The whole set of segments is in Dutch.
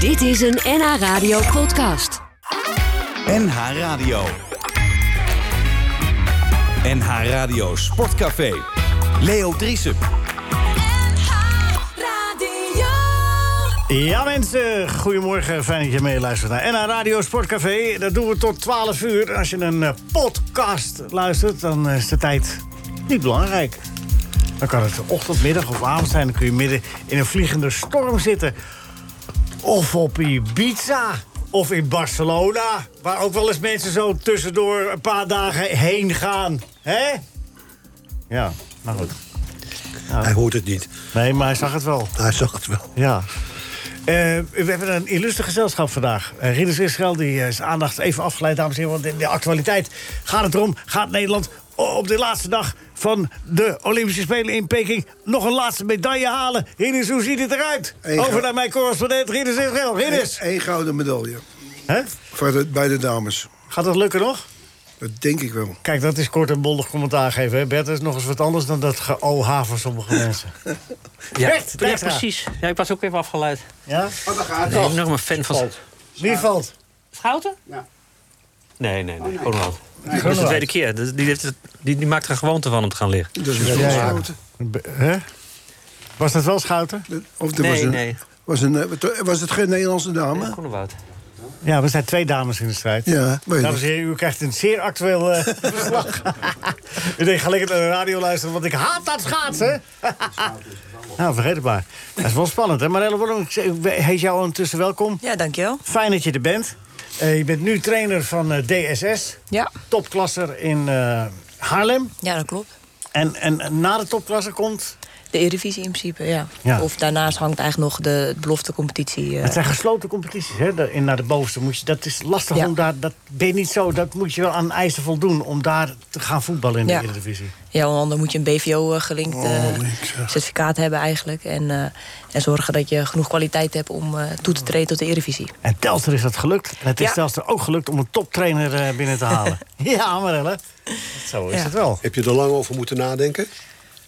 Dit is een NH Radio podcast. NH Radio. NH Radio Sportcafé. Leo Driessen. Ja mensen, goedemorgen. Fijn dat je meeluistert naar NH Radio Sportcafé. Dat doen we tot 12 uur. Als je een eh, podcast luistert, dan eh, is de tijd niet belangrijk. Dan kan het ochtend, middag of avond zijn. Dan kun je midden in een vliegende storm zitten. Of op Ibiza. Of in Barcelona. Waar ook wel eens mensen zo tussendoor een paar dagen heen gaan. hè? Ja, nou goed. Hij hoort het niet. Nee, maar hij zag het wel. Hij zag het wel. Ja. Eh, we hebben een illustre gezelschap vandaag. Eh Ridders Israël, die eh, is aandacht even afgeleid, dames en heren. Want in de actualiteit gaat het erom, gaat Nederland o- op de laatste dag van de Olympische Spelen in Peking nog een laatste medaille halen. Ridders, hoe ziet het eruit? Hey, ga- Over naar mijn correspondent Ridders Israël. Ridders! Eén gouden medaille. Hè? Voor de, bij de dames. Gaat dat lukken nog? Dat denk ik wel. Kijk, dat is kort en bondig commentaar geven. Hè? Bert dat is nog eens wat anders dan dat ge-OH voor sommige mensen. Ja, Bert, ja, Bertra. precies. Ja, ik was ook even afgeleid. Ja? Oh, Ik ben een enorme fan van... Wie valt? Schouten? Ja. Nee, Oh, nee, nee. Ronald. Dat is de Ronald. tweede keer. Dus Die, heeft het- die, die maakt er een gewoonte van om te gaan liggen. Dat is een schoten. Be- hè? Was dat wel Schouten? Of er was Nee, een, nee. Was, een, eh, wat- was het geen Nederlandse dame? Groenewoud. Ja, we zijn twee dames in de strijd. Ja, weet Dames ik. en heren, u krijgt een zeer actueel eh, verslag. u denkt, ga lekker naar de radio luisteren, want ik haat dat schaatsen. nou, vergeet het maar. Dat is wel spannend, hè? Marelle Worm, heet jou ondertussen welkom. Ja, dankjewel. Fijn dat je er bent. Eh, je bent nu trainer van eh, DSS. Ja. Topklasser in eh, Haarlem. Ja, dat klopt. En, en na de topklasser komt... De Eredivisie in principe, ja. Ja. Of daarnaast hangt eigenlijk nog de beloftecompetitie. eh. Het zijn gesloten competities, hè? Da- in naar de bovenste moet je... Dat is lastig Ja. om daar... Dat ben je niet zo. Dat moet je wel aan eisen voldoen om daar te gaan voetballen in de Ja. Eredivisie. Oh, Ja, want anders moet je een BVO-gelinkt eh, certificaat hebben eigenlijk. En, eh, en zorgen dat je genoeg kwaliteit hebt om eh, toe te treden tot de Eredivisie. En Telstra is dat gelukt. En het is Ja. Telstra ook gelukt om een toptrainer eh, binnen te halen. ja, Marelle. Zo is Ja. het wel. Heb je er lang over moeten nadenken?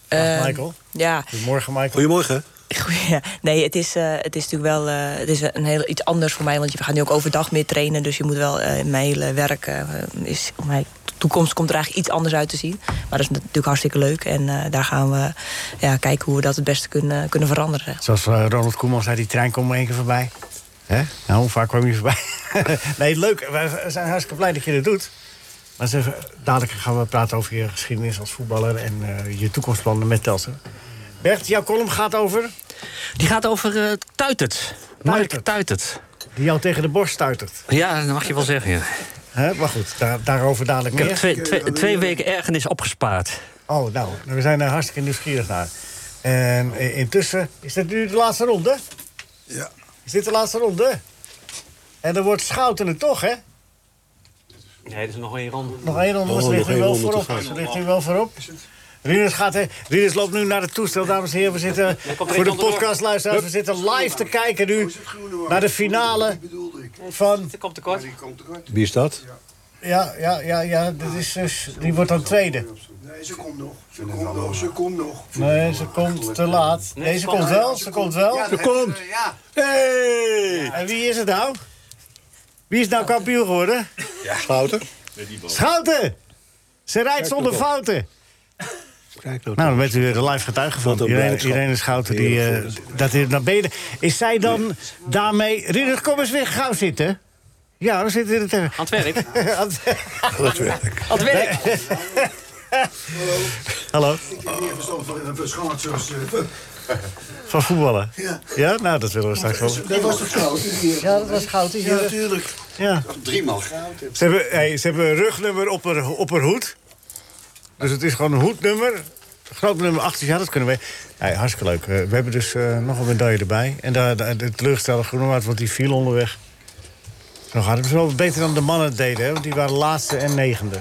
Dag, Michael. Ehm, Ja, Goedemorgen, Michael. Goedemorgen. Goeie- ja. nee, het is, eh, het is natuurlijk wel eh, het is een heel iets anders voor mij. Want je gaat nu ook overdag meer trainen. Dus je moet wel eh, in mijn hele werk. eh, is, mijn toekomst komt er eigenlijk iets anders uit te zien. Maar dat is natuurlijk hartstikke leuk. En eh, daar gaan we ja, kijken hoe we dat het beste kunnen, kunnen veranderen. Zoals eh, Ronald Koeman zei, die trein komt maar één keer voorbij. Hè? Nou, hoe vaak kwam je voorbij? nee, leuk. We zijn hartstikke blij dat je dit doet. Maar zeg, dadelijk gaan we praten over je geschiedenis als voetballer... en eh, je toekomstplannen met Telstra. Bert, jouw column gaat over Die gaat over eh Tuitert. Tuitert. Mark Tuitert. die jou tegen de borst stuitert. Ja, dat mag je wel zeggen. ja. Hè? Maar goed, daar, daarover dadelijk Ik heb meer. twee, twee, twee weken ergernis opgespaard. Oh, nou, we zijn er hartstikke nieuwsgierig naar. En eh, intussen, is dit nu de laatste ronde? Ja. Is dit de laatste ronde? En dan wordt Schouten het toch, hè? Nee, er is nog één ronde. Nog één ronde, Oh, ze ligt nog nu één wel ronde te voorop. gaan. Ze ligt nu wel voorop. Rieders, gaat, hè? Rieders loopt nu naar het toestel, dames en heren. We zitten komt er voor de niet onderdoor. podcastluisteraars. We zitten live te kijken nu naar de finale van... Ze komt tekort. Wie is dat? Ja, ja, ja, ja, dit is dus, die wordt dan tweede. Nee, ze komt nog. Ze komt nog. Ze komt nog. Nee, ze komt te laat. Nee, ze komt wel, ze komt wel. Ze komt. Ja. Hey! En wie is het nou? Wie is nou kampioen geworden? Schouten? Schouten! Ze rijdt zonder fouten. Kijk nou. Nou, dan bent u weer de live getuige van. Wat een Irene, blijdschap. Irene Schouten, die, eh, dat is naar beneden. Is zij dan daarmee... Ridder, kom eens weer gauw zitten. Ja, we zitten in het... eh, Aan het werk. aan het- Dat werk. Aan het werk. Hallo, Ik heb meer verstand van een schaatsers. eh, van voetballen. Ja. Ja, nou, dat willen we straks wel. Dat was het goud. Ja, dat was Schouten. Ja, natuurlijk. Ja. Driemaal. Ze hebben, hey, ze hebben een rugnummer op haar, op haar hoed. Dus het is gewoon een hoednummer. Groot nummer 18, ja, dat kunnen we. Hey, hartstikke leuk. Eh, we hebben dus eh, nog een medaille erbij. En daar, daar, de teleurgestelde Groenemaat, want die viel onderweg. Zo gaat het. Het is wel beter dan de mannen het deden, hè, want die waren laatste en negende.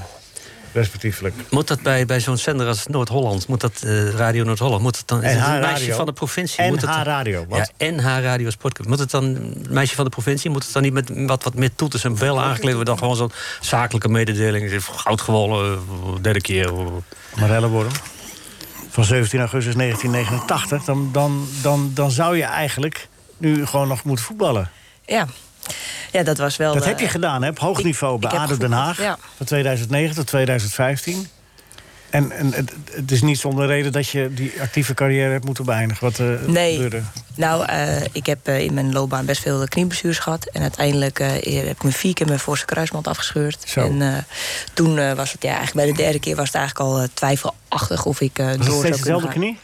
Respectievelijk. Moet dat bij, bij zo'n zender als Noord-Holland, moet dat eh, Radio Noord-Holland, moet het dan is NH het een meisje Radio. van de provincie? NH Dus moet het, dan- Radio, wat? Ja, NH Radio Sportclub. Moet het dan een meisje van de provincie, moet het dan niet met wat, wat meer toeters en bellen aangekleed worden dan gewoon zo'n zakelijke mededeling? Goud gewonnen, eh, derde keer. Marelle Worm. Van 17 augustus 1989. Dan, dan, dan, dan zou je eigenlijk nu gewoon nog moeten voetballen. ja. ja, dat was wel... Dat eh, heb je gedaan, hè? Op hoog ik- niveau bij ik heb ADO Den gevoetbald, Haag. ja. Van 2009 tot 2015. En, en het, het is niet zonder reden dat je die actieve carrière hebt moeten beëindigen. Wat eh Nee. gebeurde. Nou, eh, ik heb eh, in mijn loopbaan best veel eh, knieblessures gehad. En uiteindelijk eh, heb ik me vier keer mijn voorste kruisband afgescheurd. Zo. En eh, toen eh, was het, ja, eigenlijk bij de derde keer was het eigenlijk al eh, twijfelachtig of ik eh door Was het zou steeds kunnen dezelfde gaan. knie?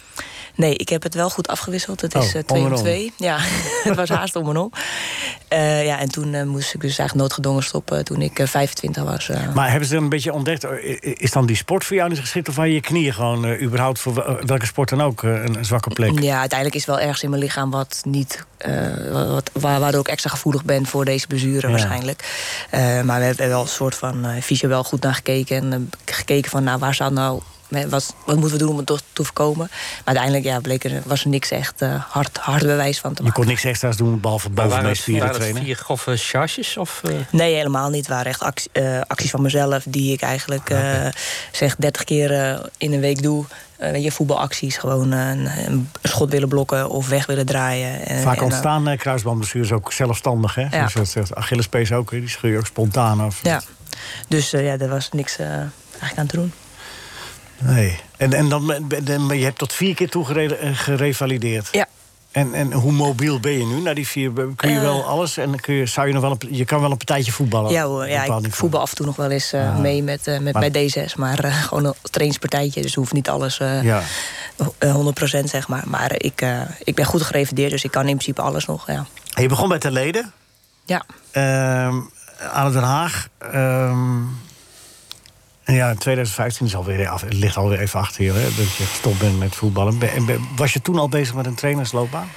Nee, ik heb het wel goed afgewisseld. Het Oh, is eh, om twee en om om. twee. Ja, het was haast om en om. Eh, ja, en toen eh, moest ik dus eigenlijk noodgedwongen stoppen toen ik eh, 25 was. eh. Maar hebben ze dan een beetje ontdekt, eh, i- is dan die sport voor jou niet geschikt? Of waren je knieën gewoon eh, überhaupt voor wel- welke sport dan ook eh, een, een zwakke plek? Ja, uiteindelijk is wel ergens in mijn lichaam wat niet. eh, wat, wa- waardoor ik extra gevoelig ben voor deze bezuren Ja. waarschijnlijk. Eh, maar we hebben wel een soort van eh fysio wel goed naar gekeken. En eh, gekeken van nou, waar staat nou. hè, Wat, wat moeten we doen om het toch te voorkomen? Maar uiteindelijk ja, bleek er, was er niks echt eh, hard, hard bewijs van te Je maken. kon niks extra's doen, behalve Maar waren boven het, spieren waren het trainen. vier grove charges? Of, eh, Nee, helemaal niet. Het waren echt actie- eh, acties van mezelf die ik eigenlijk eh, zeg 30 keer eh, in een week doe. Eh, weet je voetbalacties, gewoon eh, een, een schot willen blokken of weg willen draaien. En- en, Vaak eh, ontstaan eh, kruisbandblessures ook zelfstandig, hè? Zoals je dat zegt. Achillespees ook, hè? die scheur je ook spontaan af. Ja, dus eh, ja, daar was niks eh, eigenlijk aan te doen. Nee. En, en dan, ben- ben- ben- je hebt tot vier keer toe gerede- eh, gerevalideerd. Ja. Eh. En, en hoe mobiel ben je nu na die vier? Kun je wel alles? En dan kun je, zou je, nog wel een, je kan wel een partijtje voetballen? Ja, hoor, op ja een bepaald ik niveau. voetbal af en toe nog wel eens eh, mee met, eh, met, Ah. Maar- bij D6. Maar eh, gewoon een trainingspartijtje, dus hoeft niet alles eh, Ja. eh, 100% zeg maar. Maar eh, ik, eh, ik ben goed gerevideerd, dus ik kan in principe alles nog. Ja, En je begon bij de leden. ja. ehm aan Den Haag. ehm, en ja, 2015 is alweer af, het ligt alweer even achter je, hè, dat je gestopt bent met voetballen. Ben- en ben- was je toen al bezig met een trainersloopbaan?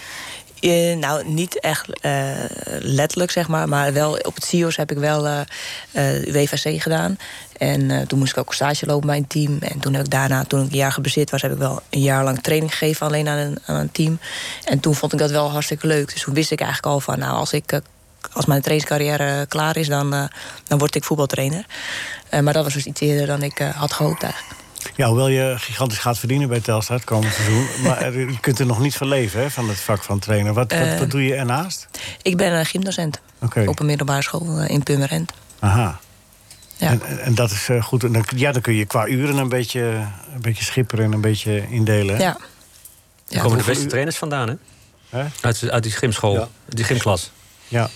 Eh, nou, niet echt eh, letterlijk, zeg maar. Maar wel op het CIO's heb ik wel eh eh, WVC gedaan. En eh, toen moest ik ook stage lopen bij een team. En toen heb ik daarna, toen ik een jaar gebezit was... heb ik wel een jaar lang training gegeven alleen aan een, aan een team. En toen vond ik dat wel hartstikke leuk. Dus toen wist ik eigenlijk al van, nou, als ik... eh, als mijn trainingscarrière klaar is, dan, eh, dan word ik voetbaltrainer. Eh, maar dat was dus iets eerder dan ik eh, had gehoopt eigenlijk. Ja, hoewel je gigantisch gaat verdienen bij Telstra het komend seizoen. Maar er- je kunt er nog niet van leven, hè, van het vak van trainer. Wat, wat, Eh. wat doe je ernaast? Ik ben een gymdocent Oké. op een middelbare school eh, in Purmerend. Aha. Ja. En, en- en dat is eh, goed. En dan, ja, dan kun je qua uren een beetje, een beetje schipperen en een beetje indelen. hè? Ja. Daar komen de beste trainers vandaan, hè? Hè? Uit, uit die gymschool, Ja. die gymklas. ja.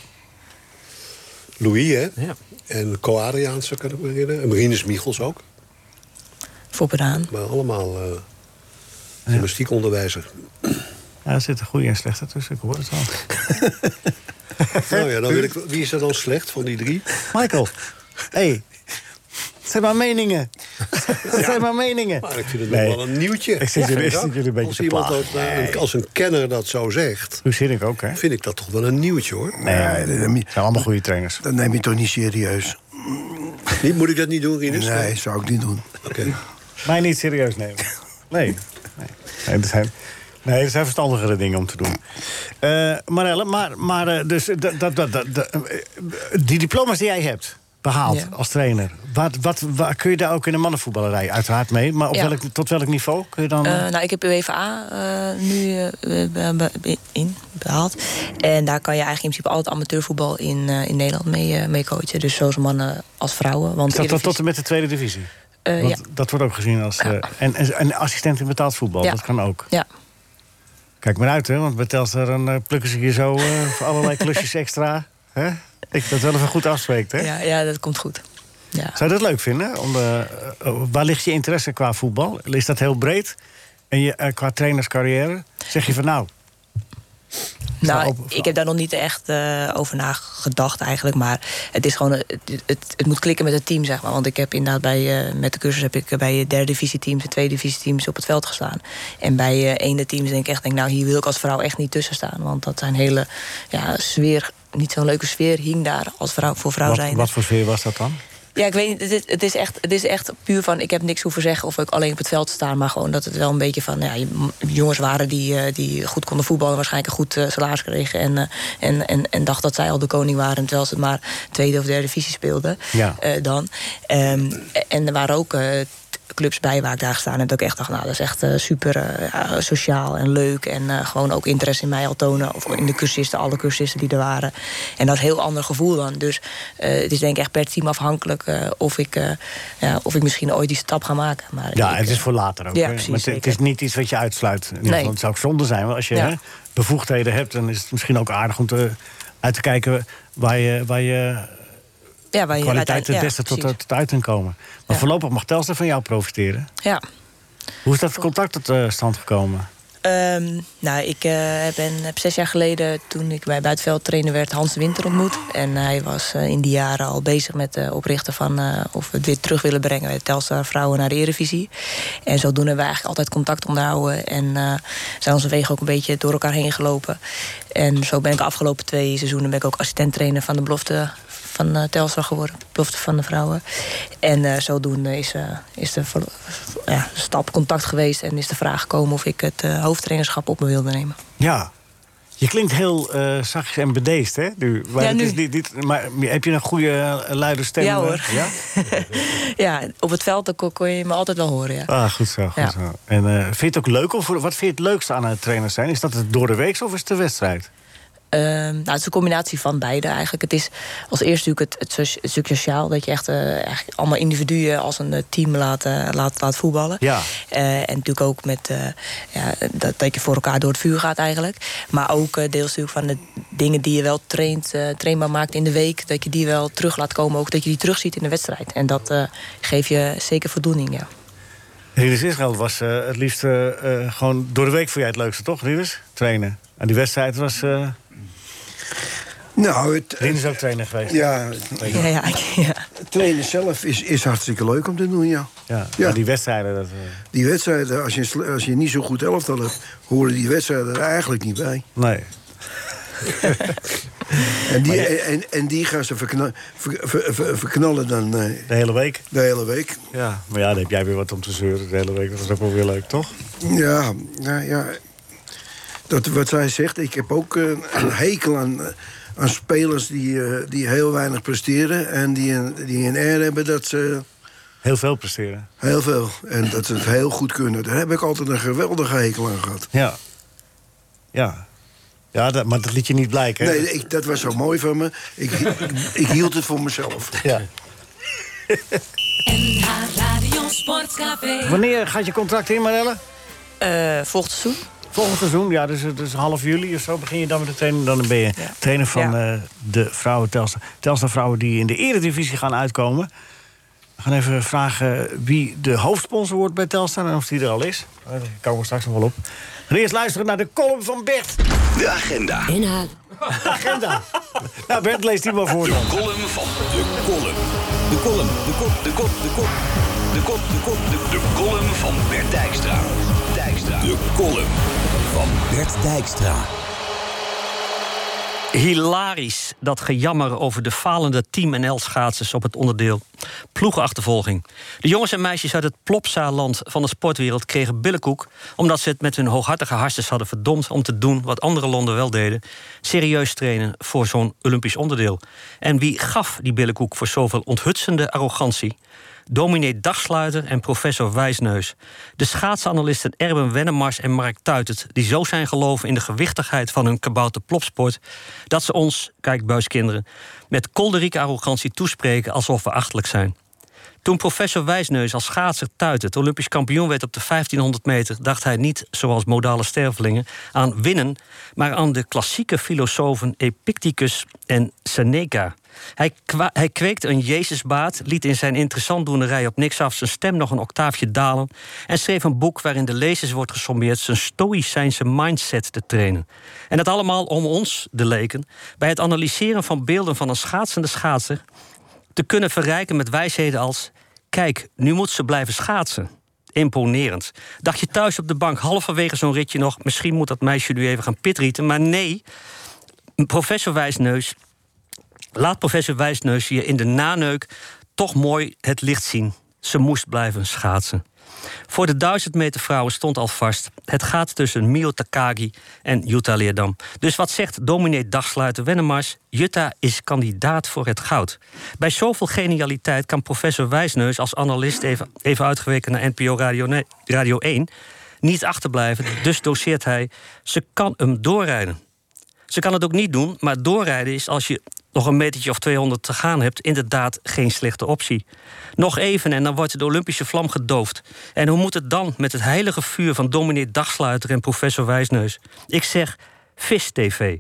Louis, hè? Ja. En Co-Adriaanse kan ik me herinneren. En Marines Michels ook. Voor Bedaan. Maar allemaal eh gymnastiekonderwijzer. Ja, er zitten goede en slechte tussen, ik hoor het al. Nou ja, dan weet ik, wie is er dan slecht van die drie? Michael, hé. Hey. Het zijn maar meningen. Het zijn maar meningen. Maar ik vind het Nee. nog wel een nieuwtje. Ik zit jullie- ik zit jullie een beetje als te iemand plagen. dat, nou, een- als een kenner dat zo zegt, Hoe zit ik ook, hè? vind ik dat toch wel een nieuwtje hoor. Nee, Ja, het dat- dat- zijn allemaal goede trainers. Dat neem je toch niet serieus? Niet, moet ik dat niet doen, Rinus? Nee, zou ik niet doen. Oké. Mij niet serieus nemen. Nee. Nee, nee, er, zijn, nee er zijn verstandigere dingen om te doen. Eh Marelle, maar, maar eh, dus, dat, dat, dat, dat- dat- eh, die diploma's die jij hebt behaald Ja. als trainer... Wat, wat, waar kun je daar ook in de mannenvoetballerij uiteraard mee? Maar op Ja. welk, tot welk niveau kun je dan... Eh, nou, ik heb UEFA eh nu eh, be- be- be- in behaald. En daar kan je eigenlijk in principe altijd amateurvoetbal in, eh, in Nederland mee, eh, mee coachen. Dus zowel mannen als vrouwen. Want is dat tot, Eredivisie- tot en met de tweede divisie? Eh, Want ja. dat wordt ook gezien als... eh, en, en, en assistent in betaald voetbal, Ja. dat kan ook. ja. Kijk maar uit, hè, want bij Telstar dan, eh, plukken ze je zo eh, voor allerlei klusjes extra. Hè? Ik dat wel even goed afspreekt, hè? Ja, ja, dat komt goed. Ja. Zou je dat leuk vinden? Om de, eh, eh, waar ligt je interesse qua voetbal? Is dat heel breed? En je, eh, qua trainerscarrière? Zeg je van nou, Nou, open voor- ik heb daar nog niet echt eh, over nagedacht eigenlijk. Maar het is gewoon. eh, Het, het, het moet klikken met het team, zeg maar. Want ik heb inderdaad bij, eh, met de cursus heb ik eh, bij derde divisie teams en tweede divisie teams op het veld gestaan. En bij eh ene teams denk ik echt, denk, nou, hier wil ik als vrouw echt niet tussen staan. Want dat zijn hele ja, sfeer. Niet zo'n leuke sfeer hing daar als vrouw voor vrouw wat, zijn. wat voor sfeer was dat dan? Ja, ik weet niet. Het is, het, is echt, het is echt puur van. Ik heb niks hoeven zeggen of ik alleen op het veld staan. Maar gewoon dat het wel een beetje van. Ja, je- jongens waren die, eh, die goed konden voetballen. Waarschijnlijk een goed eh, salaris kregen. En, eh, en, en, en dacht dat zij al de koning waren. Terwijl ze het maar tweede of derde divisie speelden. Ja. eh, dan. Ehm, en er waren ook. eh, t- clubs bij waar ik daar gestaan heb. Dat ik echt dacht, nou, dat is echt eh, super eh, ja, sociaal en leuk. En eh, gewoon ook interesse in mij al tonen. Of in de cursisten, alle cursisten die er waren. En dat is een heel ander gevoel dan. Dus eh, het is denk ik echt per team afhankelijk eh, of, ik, eh, ja, of ik misschien ooit die stap ga maken. Maar Ja, ik, het is eh, voor later ook. Ja, hè. precies, maar het, het zeker. is niet iets wat je uitsluit. In ieder Nee. geval, Het zou ook zonde zijn. want Als je Ja. hè, bevoegdheden hebt, dan is het misschien ook aardig om te, uit te kijken waar je, waar je ja, waar je kwaliteiten uiteindelijk- het beste ja, tot, precies. tot uiting komen. Maar Ja. voorlopig mag Telstra van jou profiteren. Ja. Hoe is dat contact tot eh, stand gekomen? Ehm, nou, ik eh, ben, heb zes jaar geleden, toen ik bij Buitenveld trainer werd, Hans de Winter ontmoet. En hij was eh, in die jaren al bezig met het oprichten van eh, of we het weer terug willen brengen bij Telstar Vrouwen naar de Eredivisie. En zodoende hebben we eigenlijk altijd contact onderhouden. En eh, zijn onze wegen ook een beetje door elkaar heen gelopen. En zo ben ik de afgelopen twee seizoenen ben ik ook assistent trainer van de belofte van eh Telstar geworden. Belofte van de vrouwen. En eh, zodoende is, eh, is de ver- ja, stap contact geweest en is de vraag gekomen of ik het eh, hoofdtrainerschap op me wilde nemen. Ja. Je klinkt heel eh zachtjes en bedeesd, hè? Nu. Maar, Ja, het nu. Is niet, niet- maar heb je een goede eh, luide stem? Ja, eh? hoor. Ja? Ja, op het veld dan kon, kon je me altijd wel horen. Ja. Ah, goed zo. Goed Ja. zo. En eh, vind je het ook leuk? Of, wat vind je het leukste aan het trainer zijn? Is dat het door de week of is het de wedstrijd? Ehm, nou, het is een combinatie van beide eigenlijk. Het is als eerst natuurlijk het, het, socia- het stuk sociaal. Dat je echt eh, eigenlijk allemaal individuen als een eh, team laat, eh, laat, laat voetballen. Ja. Eh, en natuurlijk ook met eh, ja, dat, dat je voor elkaar door het vuur gaat eigenlijk. Maar ook eh, deels natuurlijk van de dingen die je wel traint, eh, trainbaar maakt in de week. Dat je die wel terug laat komen. Ook dat je die terugziet in de wedstrijd. En dat eh, geeft je zeker voldoening, ja. Rinus Israël was eh, het liefst eh, eh, gewoon door de week voor jij het leukste, toch, Rinus? Trainen. En die wedstrijd was... eh Nou, het, Rinus is ook trainer geweest. ja, Ja, ja, ja. het trainen zelf is, is hartstikke leuk om te doen, ja. Ja, Ja. maar die wedstrijden... Dat, eh, Die wedstrijden, als je, een sle- als je niet zo goed elftal hebt... horen die wedstrijden er eigenlijk niet bij. nee. En die, en, en die gaan ze verkna- ver- ver- ver- verknallen dan eh, De hele week. de hele week. Ja. Maar ja, dan heb jij weer wat om te zeuren de hele week. Dat is ook wel weer leuk, toch? Ja, nou ja. Dat, wat zij zegt, ik heb ook eh, een hekel aan, eh, aan spelers die, eh, die heel weinig presteren. En die een, die een air hebben dat ze Heel veel presteren. heel veel. En dat ze het heel goed kunnen. Daar heb ik altijd een geweldige hekel aan gehad. Ja. Ja. Ja, dat, maar dat liet je niet blijken. hè? Nee, ik, dat was zo mooi van me. Ik, ik, ik hield het voor mezelf. Ja. NH Radio Sportcafé. Wanneer gaat je contract in, Marelle? Eh, volgend seizoen. Volgend seizoen, ja, dus, dus half juli of zo begin je dan met de training. Dan ben je Ja. trainer van Ja. eh, de vrouwen Telstra. Telstra vrouwen die in de eredivisie gaan uitkomen. We gaan even vragen wie de hoofdsponsor wordt bij Telstra en of die er al is. Eh, Daar komen we straks nog wel op. Maar eerst luisteren naar de column van Bert. De agenda. NH Agenda. nou, Bert leest die maar voor dan. Column van de column. De column, de kop, de kop, de kop. De kop, de kop, de De column van Bert Dijkstra. Dijkstra. De column van Bert Dijkstra. Hilarisch, dat gejammer over de falende Team NL-schaatsers op het onderdeel ploegenachtervolging. De jongens en meisjes uit het Plopsa-land van de sportwereld kregen billenkoek... omdat ze het met hun hooghartige hartjes hadden verdomd om te doen... wat andere landen wel deden, serieus trainen voor zo'n Olympisch onderdeel. En wie gaf die billenkoek voor zoveel onthutsende arrogantie? Dominee Dagsluiter en professor Wijsneus. De schaatsanalisten Erben Wennemars en Mark Tuitert... die zo zijn geloven in de gewichtigheid van hun kabouterplopsport... dat ze ons, kijkbuiskinderen, met kolderieke arrogantie toespreken... alsof we achtelijk zijn. Toen professor Wijsneus als schaatser Tuitert Olympisch kampioen werd op de 1500 meter... dacht hij niet, zoals modale stervelingen, aan winnen... maar aan de klassieke filosofen Epictetus en Seneca. Hij, kwa- hij kweekte een Jezusbaat, liet in zijn interessantdoenerij op niks af... zijn stem nog een octaafje dalen... en schreef een boek waarin de lezers wordt gesommeerd... zijn stoïcijnse mindset te trainen. En dat allemaal om ons, de leken... bij het analyseren van beelden van een schaatsende schaatser te kunnen verrijken met wijsheden als: kijk, nu moet ze blijven schaatsen. Imponerend. Dacht je thuis op de bank halverwege zo'n ritje nog: misschien moet dat meisje nu even gaan pitrieten. Maar nee, professor Wijsneus Laat professor Wijsneus je in de naneuk toch mooi het licht zien. Ze moest blijven schaatsen. Voor de 1000 meter vrouwen stond al vast. Het gaat tussen Mio Takagi en Jutta Leerdam. Dus wat zegt dominee dagsluiter Wennemars? Jutta is kandidaat voor het goud. Bij zoveel genialiteit kan professor Wijsneus als analist... even, even uitgeweken naar NPO Radio, ne- Radio 1... niet achterblijven, dus doseert hij... ze kan hem doorrijden. Ze kan het ook niet doen, maar doorrijden is als je nog een metertje of 200 te gaan hebt, inderdaad geen slechte optie. Nog even en dan wordt de Olympische vlam gedoofd. En hoe moet het dan met het heilige vuur van dominee Dagsluiter en professor Wijsneus? Ik zeg, vis TV.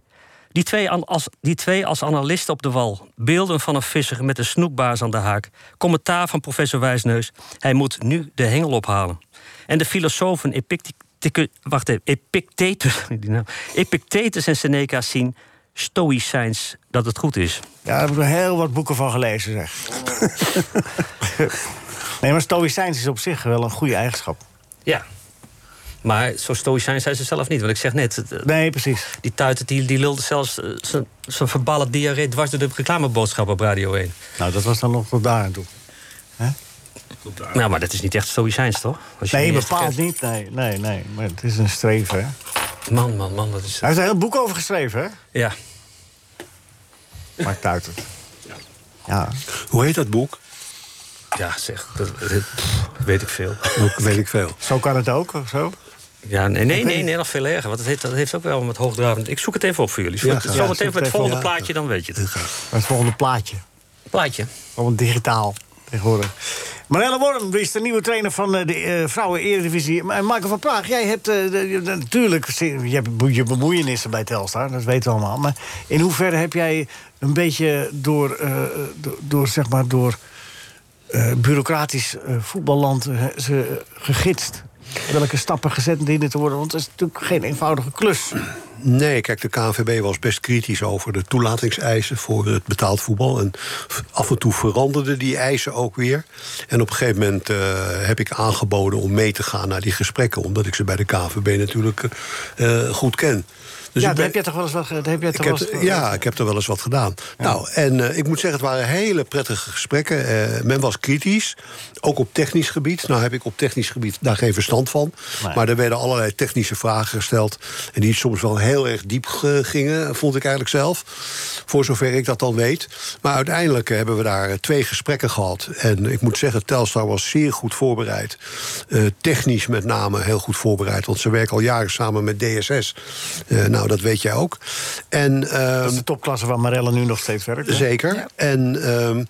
Die twee, an- als, die twee als analisten op de wal. Beelden van een visser met een snoekbaas aan de haak. Commentaar van professor Wijsneus. Hij moet nu de hengel ophalen. En de filosofen Epictetus, wacht even, Epictetus, die naam, Epictetus en Seneca zien stoïcijns dat het goed is. Ja, daar heb ik nog heel wat boeken van gelezen, zeg. Oh. nee, maar stoïcijns is op zich wel een goede eigenschap. Ja. Maar zo stoïcijns zijn ze zelf niet. Want ik zeg net, het, eh, Nee, precies. die tuitert die, die lulde zelfs eh, zijn- zijn verbale diarree dwars door de reclameboodschap op Radio 1. Nou, dat was dan nog tot daar aan toe. Nou, maar dat is niet echt stoïcijns, toch? Als je Nee, die echt bepaald kent. niet. Nee, nee, nee. Maar het is een streven, hè. Man, man, man, dat is... Hij heeft er een heel boek over geschreven, hè? Ja. Maakt uit het. Ja. Hoe heet dat boek? Ja, zeg, dat, dat- pff, weet ik veel. Dat weet ik veel. Zo kan het ook, of zo. Ja, nee, nee, nee, nee, nog veel erger. Want dat heeft, dat heeft ook wel met hoogdravend... Ik zoek het even op voor jullie. Ja, Zo graag. Zometeen Ja, zoek het met het even op. volgende plaatje, dan weet je het. Dat is het volgende plaatje. Plaatje. Allemaal digitaal tegenwoordig. Marelle Worm die is de nieuwe trainer van eh, de eh, vrouwen Eredivisie. Ma- En Marco van Praag, jij hebt eh, de- de- natuurlijk... je hebt be- je bemoeienissen bij Telstar, dat weten we allemaal. Maar in hoeverre heb jij een beetje door, eh, do- door zeg maar, door eh, bureaucratisch eh, voetballand eh, ze eh, gegidst? Welke stappen gezet dienen te worden? Want het is natuurlijk geen eenvoudige klus. Nee, kijk, de KNVB was best kritisch over de toelatingseisen voor het betaald voetbal. En v- af en toe veranderden die eisen ook weer. En op een gegeven moment eh, heb ik aangeboden om mee te gaan naar die gesprekken. Omdat ik ze bij de KNVB natuurlijk eh, goed ken. Dus ja, ik daar ben- heb jij toch wel eens wat... ge- daar Heb jij Ik toch heb, wel eens- ja, ik heb er wel eens wat gedaan. Nou, en eh, ik moet zeggen, het waren hele prettige gesprekken. Eh, men was kritisch, ook op technisch gebied. Nou heb ik op technisch gebied daar geen verstand van. Nee. Maar er werden allerlei technische vragen gesteld... en die soms wel heel erg diep ge- gingen, vond ik eigenlijk zelf. Voor zover ik dat dan weet. Maar uiteindelijk eh, hebben we daar eh, twee gesprekken gehad. En ik moet zeggen, Telstar was zeer goed voorbereid. Eh, technisch met name heel goed voorbereid. Want ze werken al jaren samen met DSS. Eh, nou, dat weet jij ook. En... Dat ehm, is de topklasse waar Marelle nu nog steeds werkt. hè? Zeker. En ehm,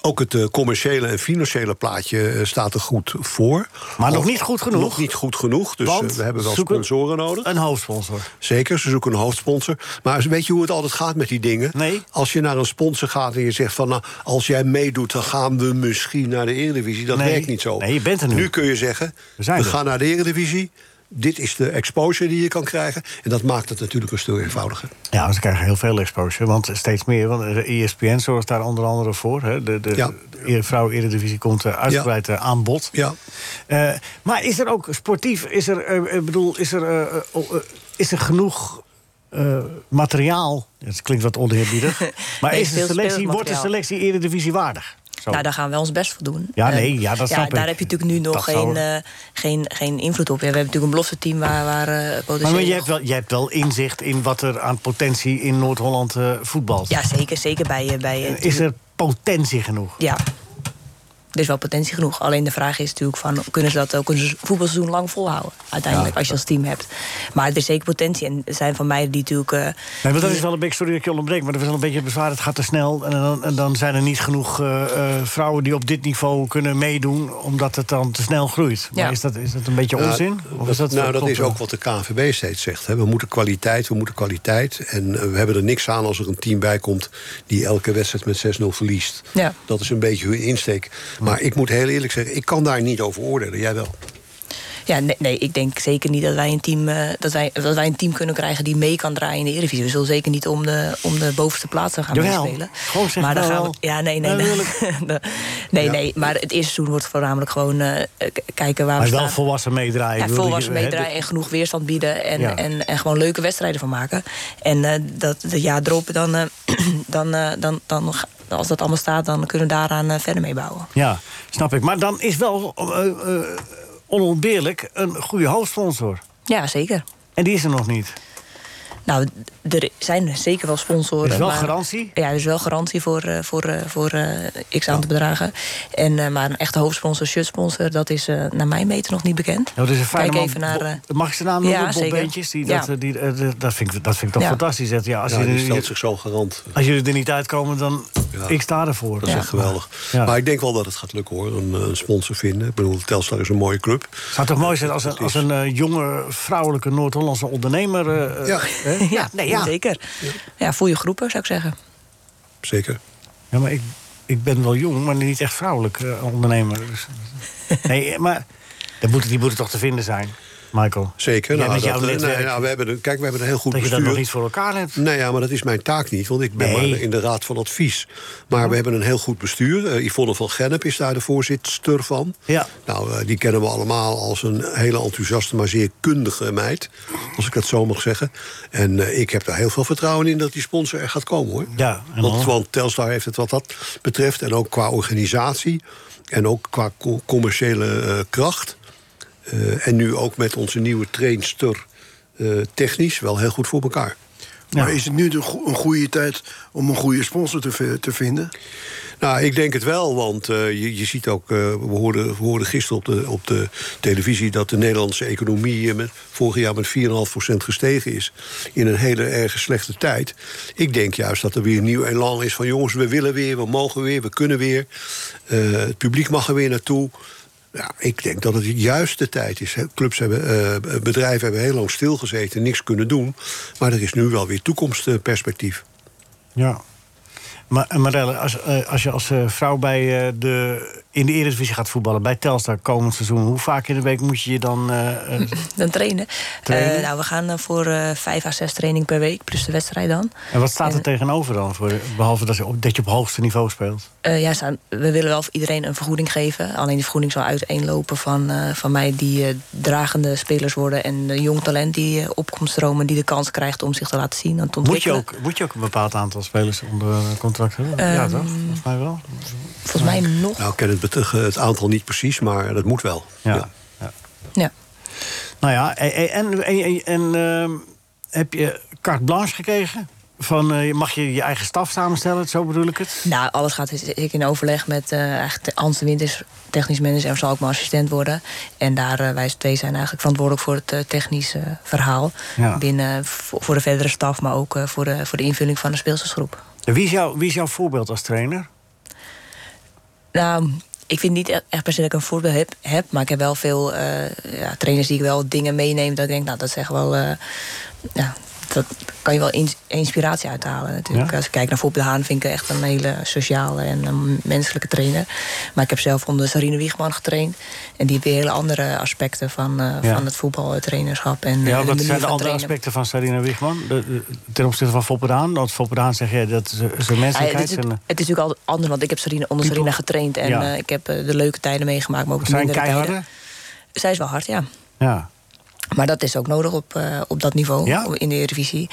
ook het eh, commerciële en financiële plaatje eh, staat er goed voor. Maar nog Of- niet goed genoeg. Nog niet goed genoeg. Dus Want eh, we hebben wel zoeken- sponsoren nodig. Een hoofdsponsor. Zeker, ze zoeken een hoofdsponsor. Maar weet je hoe het altijd gaat met die dingen? Nee. Als je naar een sponsor gaat en je zegt van... Nou, als jij meedoet, dan gaan we misschien naar de Eredivisie. Dat Nee. werkt niet zo. Nee, je bent er nu. Nu kun je zeggen, We we, zijn er. gaan naar de Eredivisie. Dit is de exposure die je kan krijgen. En dat maakt het natuurlijk een stuk eenvoudiger. Ja, ze krijgen heel veel exposure, want steeds meer. Want E de ESPN zorgt daar onder andere voor. Hè? De, de, Ja. de vrouw Eredivisie komt eh, uitgebreid eh, aan bod. Ja. Eh, maar is er ook sportief, is er, eh, eh, bedoel, is er, eh, eh, oh, eh, is er genoeg eh, materiaal? Het klinkt wat oneerbiedig. maar Nee, is de selectie, veel speelmateriaal. wordt de selectie Eredivisie waardig? Zo. Nou, daar gaan we ons best voor doen. Ja, Eh, nee, ja, dat snap ik. Daar heb je natuurlijk nu nog Dat zou- geen, eh, geen, geen invloed op. Ja, we hebben natuurlijk een belofte team waar, waar eh, potentieel... maar, maar jij, hebt wel, jij hebt wel inzicht in wat er aan potentie in Noord-Holland eh, voetbalt. Ja, zeker. Zeker bij... eh, bij eh, Is er potentie genoeg? Ja. Er is wel potentie genoeg. Alleen de vraag is natuurlijk van... kunnen ze dat ook een seizoen- voetbalseizoen lang volhouden? Uiteindelijk, als je als team hebt. Maar er is zeker potentie. En er zijn van mij die natuurlijk... eh, Nee, want dat die- is wel een beetje, sorry dat ik je onderbreek, maar dat is wel een beetje bezwaar. Het gaat te snel en dan, en dan zijn er niet genoeg eh, eh, vrouwen die op dit niveau kunnen meedoen, omdat het dan te snel groeit. Maar Ja. is, dat, is dat een beetje Nou, onzin? Of is dat, eh, nou, dat klopt is dat? ook wat de KNVB steeds zegt. Hè. We moeten kwaliteit, we moeten kwaliteit. En eh, we hebben er niks aan als er een team bij komt... die elke wedstrijd met 6-0 verliest. Ja. Dat is een beetje hun insteek. Maar ik moet heel eerlijk zeggen, ik kan daar niet over oordelen. Jij wel. Ja, nee, nee, ik denk zeker niet dat wij, een team, eh, dat, wij, dat wij een team kunnen krijgen die mee kan draaien in de Eredivisie. We zullen zeker niet om de, om de bovenste plaats gaan Jawel. meespelen. Gewoon zeg dan nou gaan we. wel. Ja, nee, nee. Ja, nee. nee, Ja. nee. Maar het eerste seizoen wordt voornamelijk gewoon eh, k- kijken waar Maar we wel staan. volwassen meedraaien. Ja, Ik bedoel, volwassen je- hè, meedraaien en genoeg weerstand bieden. En, Ja. en, en gewoon leuke wedstrijden van maken. En eh, dat de jaar erop, dan, eh, dan, eh, dan, dan, als dat allemaal staat, dan kunnen we daaraan eh, verder mee bouwen. Ja, snap ik. Maar dan is wel eh, eh, onontbeerlijk een goede hoofdsponsor. Ja, zeker. En die is er nog niet. Nou, d- er zijn zeker wel sponsoren. Er is wel garantie? Ja, er is wel garantie voor, eh, voor, eh, voor eh, x aantal bedragen. En, eh, maar een echte hoofdsponsor, shirtsponsor, dat is eh, naar mijn meter nog niet bekend. Nou, dat is een fijne Kijk man. even naar... eh, Bo- Mag ik zijn naam noemen? Ja, Bob zeker. Beentjes? Die, Ja. dat, eh, die, eh, dat, vind ik, dat vind ik toch Ja. fantastisch. Dat, ja, als Ja, jullie, die stelt zich zo garant. als jullie er niet uitkomen, dan Ja. ik sta ervoor. Dat is echt geweldig. Maar ik denk wel dat het gaat lukken hoor, een, eh, een sponsor vinden. Ik bedoel, Telstar is een mooie club. zou toch mooi zijn als een, als een eh, jonge, vrouwelijke Noord-Hollandse ondernemer... eh, eh, hè? ja, nee, ja. zeker. Ja, voor je groepen, zou ik zeggen. Zeker. Ja, maar ik, ik ben wel jong, maar niet echt vrouwelijk eh, ondernemer. Dus- nee, maar dat moet, die moeten toch te vinden zijn, Michael? Zeker. Jij nou, met dat- jouw nee, netwerk. nou, we hebben, een- kijk, we hebben een heel goed Dat je dat bestuur. nog niet voor elkaar hebt. Nee, ja, maar dat is mijn taak niet, want ik ben Nee. maar in de raad van advies. Maar we hebben een heel goed bestuur. Eh, Yvonne van Gennep is daar de voorzitter van. Ja. Nou, eh, die kennen we allemaal als een hele enthousiaste, maar zeer kundige meid. Als ik dat zo mag zeggen. En eh, ik heb daar heel veel vertrouwen in dat die sponsor er gaat komen hoor. Ja, en Want, dan? want Telstar heeft het wat dat betreft. En ook qua organisatie. En ook qua co- commerciële eh, kracht. Eh, en nu ook met onze nieuwe trainster eh, technisch wel heel goed voor elkaar. Maar is het nu de go- een goede tijd om een goede sponsor te, vi- te vinden? Nou, ik denk het wel, want eh, je, je ziet ook... eh, we, hoorden, we hoorden gisteren op de, op de televisie... dat de Nederlandse economie eh, met, vorig jaar met 4,5% gestegen is. In een hele erg slechte tijd. Ik denk juist dat er weer een nieuw elan is van... jongens, we willen weer, we mogen weer, we kunnen weer. Eh, het publiek mag er weer naartoe. Ja, ik denk dat het juist de tijd is. hè. Clubs hebben, eh, bedrijven hebben heel lang stilgezeten, niks kunnen doen. Maar er is nu wel weer toekomstperspectief. Ja. Maar eh, Marelle, als, eh, als je als eh, vrouw bij, eh, de, in de Eredivisie gaat voetballen... bij Telstar komend seizoen... hoe vaak in de week moet je je dan... eh, eh, Dan trainen. Trainen? Eh, nou, we gaan eh, voor eh vijf à zes training per week, plus de wedstrijd dan. en wat staat er tegenover dan? Voor, behalve dat je, op, dat je op hoogste niveau speelt. Eh, ja, staan- we willen wel voor iedereen een vergoeding geven. Alleen die vergoeding zal uiteenlopen van, eh, van mij die eh, dragende spelers worden... en eh, jong talent die eh, opkomt stromen, die de kans krijgt om zich te laten zien en te Moet je, ontwikkelen. ook, moet je ook een bepaald aantal spelers onder eh, contract hebben? ja, Ehm, toch? Volgens mij wel. Volgens mij nog. Nou, ik ken het, bet- het aantal niet precies, maar dat moet wel. Ja. Ja. Nou ja, en, en, en, en, en, ehm, heb je carte blanche gekregen? Van, eh, mag je je eigen staf samenstellen? Zo bedoel ik het. Nou, alles gaat ik in overleg met eh eigenlijk de- Hans de Wind is technisch manager en zal ook mijn assistent worden. En daar eh, wij twee zijn eigenlijk verantwoordelijk voor het eh, technische verhaal Ja. binnen voor, voor de verdere staf, maar ook eh, voor, de, voor de invulling van de speelsersgroep. En Wie is, jouw, wie is jouw voorbeeld als trainer? Nou, ik vind niet e- echt per se dat ik een voorbeeld heb, heb maar ik heb wel veel eh, ja, trainers die ik wel dingen meeneem dat ik denk, nou, dat is echt wel. eh, ja, dat kan je wel ins- inspiratie uithalen natuurlijk. Ja. Als ik kijk naar Fop de Haan vind ik echt een hele sociale en een menselijke trainer. Maar ik heb zelf onder Sarine Wiegman getraind. En die heeft weer hele andere aspecten van, eh, Ja. van het voetbaltrainerschap. En, eh, ja, de wat manier zijn de van andere trainen. aspecten van Sarina Wiegman? De- de- ten opzichte van Fopperdaan? Want Fopperdaan zeg jij dat ze zijn Ja, het, menselijkheid... eh, is, zijn, natuurlijk- het is natuurlijk altijd anders, want ik heb Sarina, onder Sarina getraind. En Ja. eh, ik heb eh, de leuke tijden meegemaakt, maar ook de Zijn mindere keiharde? tijden. Zij is wel hard, ja. ja. Maar dat is ook nodig op, eh, op dat niveau, Ja? op- in de Eredivisie.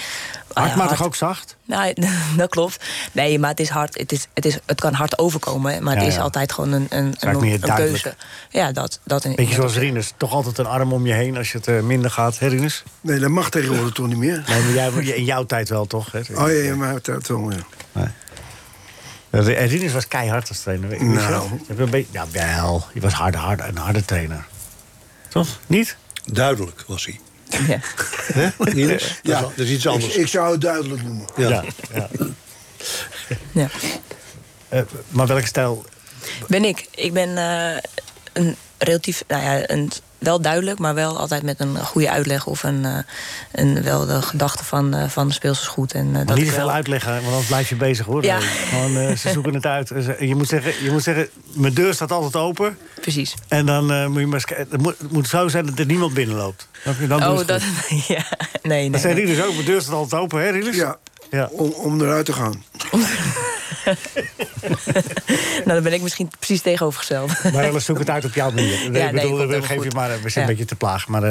Hard, Ah, maar toch ook zacht? Nou, dat klopt. Nee, maar het is hard. Het, is, het, is, het kan hard overkomen, maar het Ja, is ja. altijd gewoon een, een, eigenlijk een, meer een duidelijk. keuze. Ja, dat, dat in, Beetje zoals Rinus, toch altijd een arm om je heen als je het eh, minder gaat, hè Rinus? Nee, dat mag tegenwoordig toch niet meer? Nee, maar jij, in jouw tijd wel toch? Hè? Oh ja, ja, maar dat wel, ja. Eh, Rinus was keihard als trainer. weet je Nou. dat? Je hebt een beetje, ja, wel. Je was harde, harde, een harde trainer. Toch? Niet? Duidelijk was hij. Ja. Hè? Ines? Ja. Dat, is, dat is iets Ik, anders. ik zou het duidelijk noemen. Ja. Ja. Eh, maar welke stijl? Ben ik. Ik ben eh, een relatief, nou ja, een, wel duidelijk, maar wel altijd met een goede uitleg of een, eh, een wel de gedachte van, eh, van de speels is goed. En, eh, dat niet ik te wel- veel uitleggen, want anders blijf je bezig hoor. Ja. Gewoon, eh, ze zoeken het uit. En ze- Je moet, zeggen, je moet zeggen, mijn deur staat altijd open. Precies. En dan eh, moet je maar eens kijken. Het moet, het moet zo zijn dat er niemand binnenloopt. Dan, dan doe je Oh, het dat, goed. ja. Nee, nee. Dat zei Rinus ook, mijn deur staat altijd open, hè Rinus? Ja, Ja. Om, om eruit te gaan. nou, dan ben ik misschien precies tegenovergesteld. Maar we zoeken het uit op jouw manier. Nee, nee, ik bedoel, komt we helemaal geven je goed. maar, we zijn Ja. een beetje te plaag. Maar eh,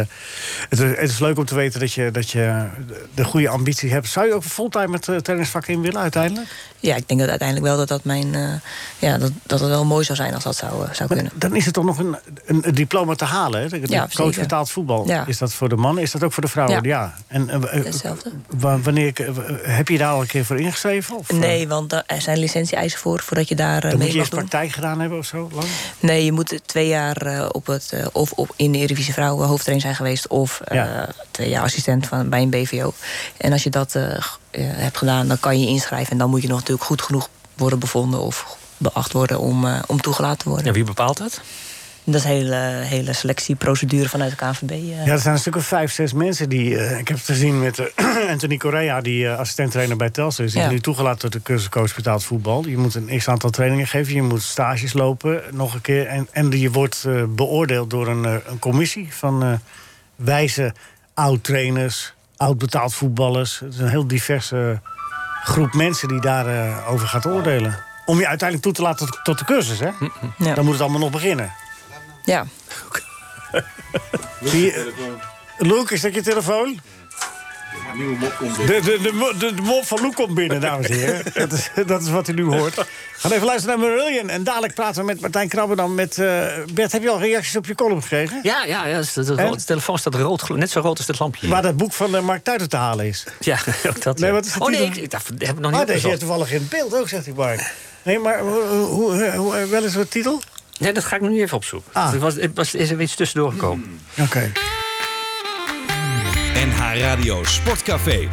het, is, het is leuk om te weten dat je, dat je de goede ambitie hebt. Zou je ook fulltime het eh, tennisvak in willen uiteindelijk? Ja, ik denk dat uiteindelijk wel dat dat mijn. eh, ja, dat, dat het wel mooi zou zijn als dat zou, eh, zou Maar kunnen. dan is het toch nog een, een, een diploma te halen. Hè? De, de Ja, coach zeker. betaald voetbal. Ja. Is dat voor de mannen? Is dat ook voor de vrouwen? Ja. Ja. En eh, eh, Hetzelfde. wa- wanneer, eh, heb je daar al een keer voor ingeschreven? Of, eh, Nee, want daar- er zijn licentie-eisen voor voordat je daar eh, dan mee moet je mag eerst doen. praktijk gedaan hebben of zo? Lang? Nee, je moet twee jaar eh, op het, eh, of op, in de Eredivisie Vrouwen hoofdtrain zijn geweest... of eh, Ja. twee jaar assistent van, bij een BVO. En als je dat eh, g- eh, hebt gedaan, dan kan je je inschrijven. En dan moet je nog natuurlijk goed genoeg worden bevonden... of beacht worden om, eh, om toegelaten te worden. Ja, wie bepaalt dat? Dat is een hele, hele selectieprocedure vanuit de KNVB. eh. Ja, er zijn een stuk of vijf, zes mensen die... eh, ik heb het gezien met eh, Anthony Correa, die eh assistent-trainer bij Telstra is. Die Ja. is nu toegelaten tot de cursuscoach betaald voetbal. Je moet een x-aantal trainingen geven. Je moet stages lopen, nog een keer. En, en je wordt eh, beoordeeld door een, eh, een commissie van eh, wijze oud-trainers... oud-betaald voetballers. Het is een heel diverse groep mensen die daarover over gaat oordelen. Om je uiteindelijk toe te laten tot, tot de cursus, hè? Ja. Dan moet het allemaal nog beginnen. ja. Zie je- Luke, is dat je telefoon? De, de, de, mo- de, de mop van Loek komt binnen, dames en heren. Dat is, dat is wat u nu hoort. Gaan even luisteren naar Marillion. En dadelijk praten we met Martijn Krabben dan met... eh, Bert, heb je al reacties op je column gekregen? Ja, ja, ja de, En? telefoon staat rood, glo- net zo rood als dit lampje. hier. Waar dat boek van eh, Mark Tuiter te halen is. Ja, ook dat. Nee, ja. wat is de oh nee, ik, titel? ik- dat heb ik nog niet Ah, deze is opgezocht. toevallig in beeld ook, zegt hij Mark. Nee, maar hoe, hoe, hoe- eh, wel eens wat titel? Nee, dat ga ik nu even opzoeken. Ah. Er was, het was, is er iets tussendoor gekomen. Oké. NH Radio Sportcafé.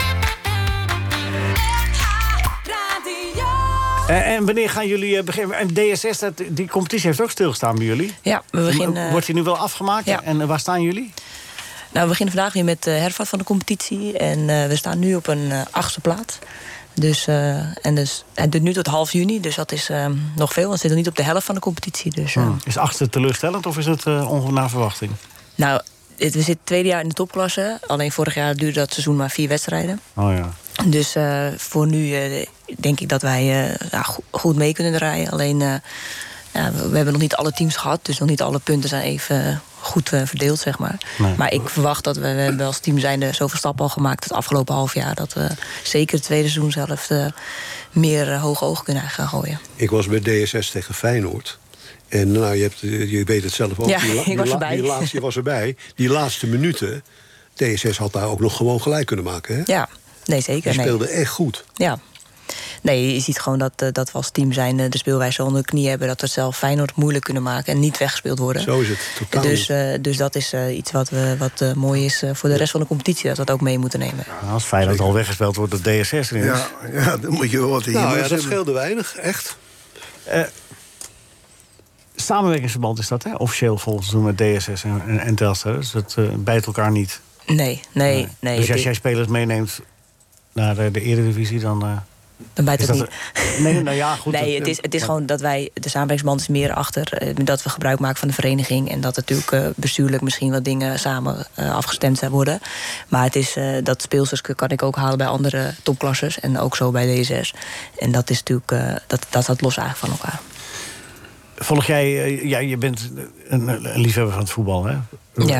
Radio. Eh, en wanneer gaan jullie eh, beginnen? En DSS, dat, die competitie heeft ook stilgestaan bij jullie. ja, we beginnen... eh, Wordt die nu wel afgemaakt? ja. En eh, waar staan jullie? Nou, we beginnen vandaag weer met de hervat van de competitie. En eh, we staan nu op een eh, achtste plaats. Dus, eh, en dus, het duurt nu tot half juni, dus dat is ehm, nog veel. We zitten niet op de helft van de competitie. Dus, eh, Is achtste teleurstellend of is het eh ongeveer naar verwachting? Nou, het, we zitten het tweede jaar in de topklasse. Alleen vorig jaar duurde dat seizoen maar vier wedstrijden. Oh ja. Dus eh, voor nu eh, denk ik dat wij eh, ja, go- goed mee kunnen draaien. Alleen, eh, ja, we, we hebben nog niet alle teams gehad. Dus nog niet alle punten zijn even eh, goed eh, verdeeld, zeg maar. Nee. Maar ik verwacht dat we, we hebben als team zijn er zoveel stappen al gemaakt... het afgelopen half jaar dat we zeker het tweede seizoen zelf... eh, meer eh, hoge ogen kunnen gaan gooien. Ik was bij DSS tegen Feyenoord. En nou, je, hebt, eh, je weet het zelf ook. Ja, die la- ik die was la- erbij. Die laatste, je was erbij. Die laatste minuten. DSS had daar ook nog gewoon gelijk kunnen maken. Hè? Ja, nee, die zeker. Nee. speelde echt goed. Ja. Nee, je ziet gewoon dat, eh, dat we als team zijn eh, de speelwijze onder de knie hebben. Dat we het zelf Feyenoord moeilijk kunnen maken en niet weggespeeld worden. Zo is het, totaal Dus, eh, dus dat is eh, iets wat, we, wat eh, mooi is eh, voor de rest van de competitie. Dat we dat ook mee moeten nemen. Nou, als Feyenoord al weggespeeld wordt door DSS. is. Ja, ja, dan moet je wel wat in je Nou mars ja, dat hebben. scheelde weinig, echt. Eh, Samenwerkingsverband is dat, hè? Officieel volgens toen met DSS en, en, en Telstra. Dus dat eh, bijt elkaar niet. Nee, nee, nee. dus als dit- jij spelers meeneemt naar de, de Eredivisie, dan... eh, dan bijt is het dat- niet. Nee, nou ja, goed. nee, dat- het is, het is maar- gewoon dat wij, de samenwerkingsband is meer achter. eh, Dat we gebruik maken van de vereniging. En dat er natuurlijk eh, bestuurlijk misschien wat dingen samen eh, afgestemd zijn worden. Maar het is, eh, dat speelsters kan ik ook halen bij andere topklassers. En ook zo bij D6. En dat is natuurlijk, eh, dat, dat staat los eigenlijk van elkaar. Volg jij... eh, ja, je bent een, een liefhebber van het voetbal, hè? Ja.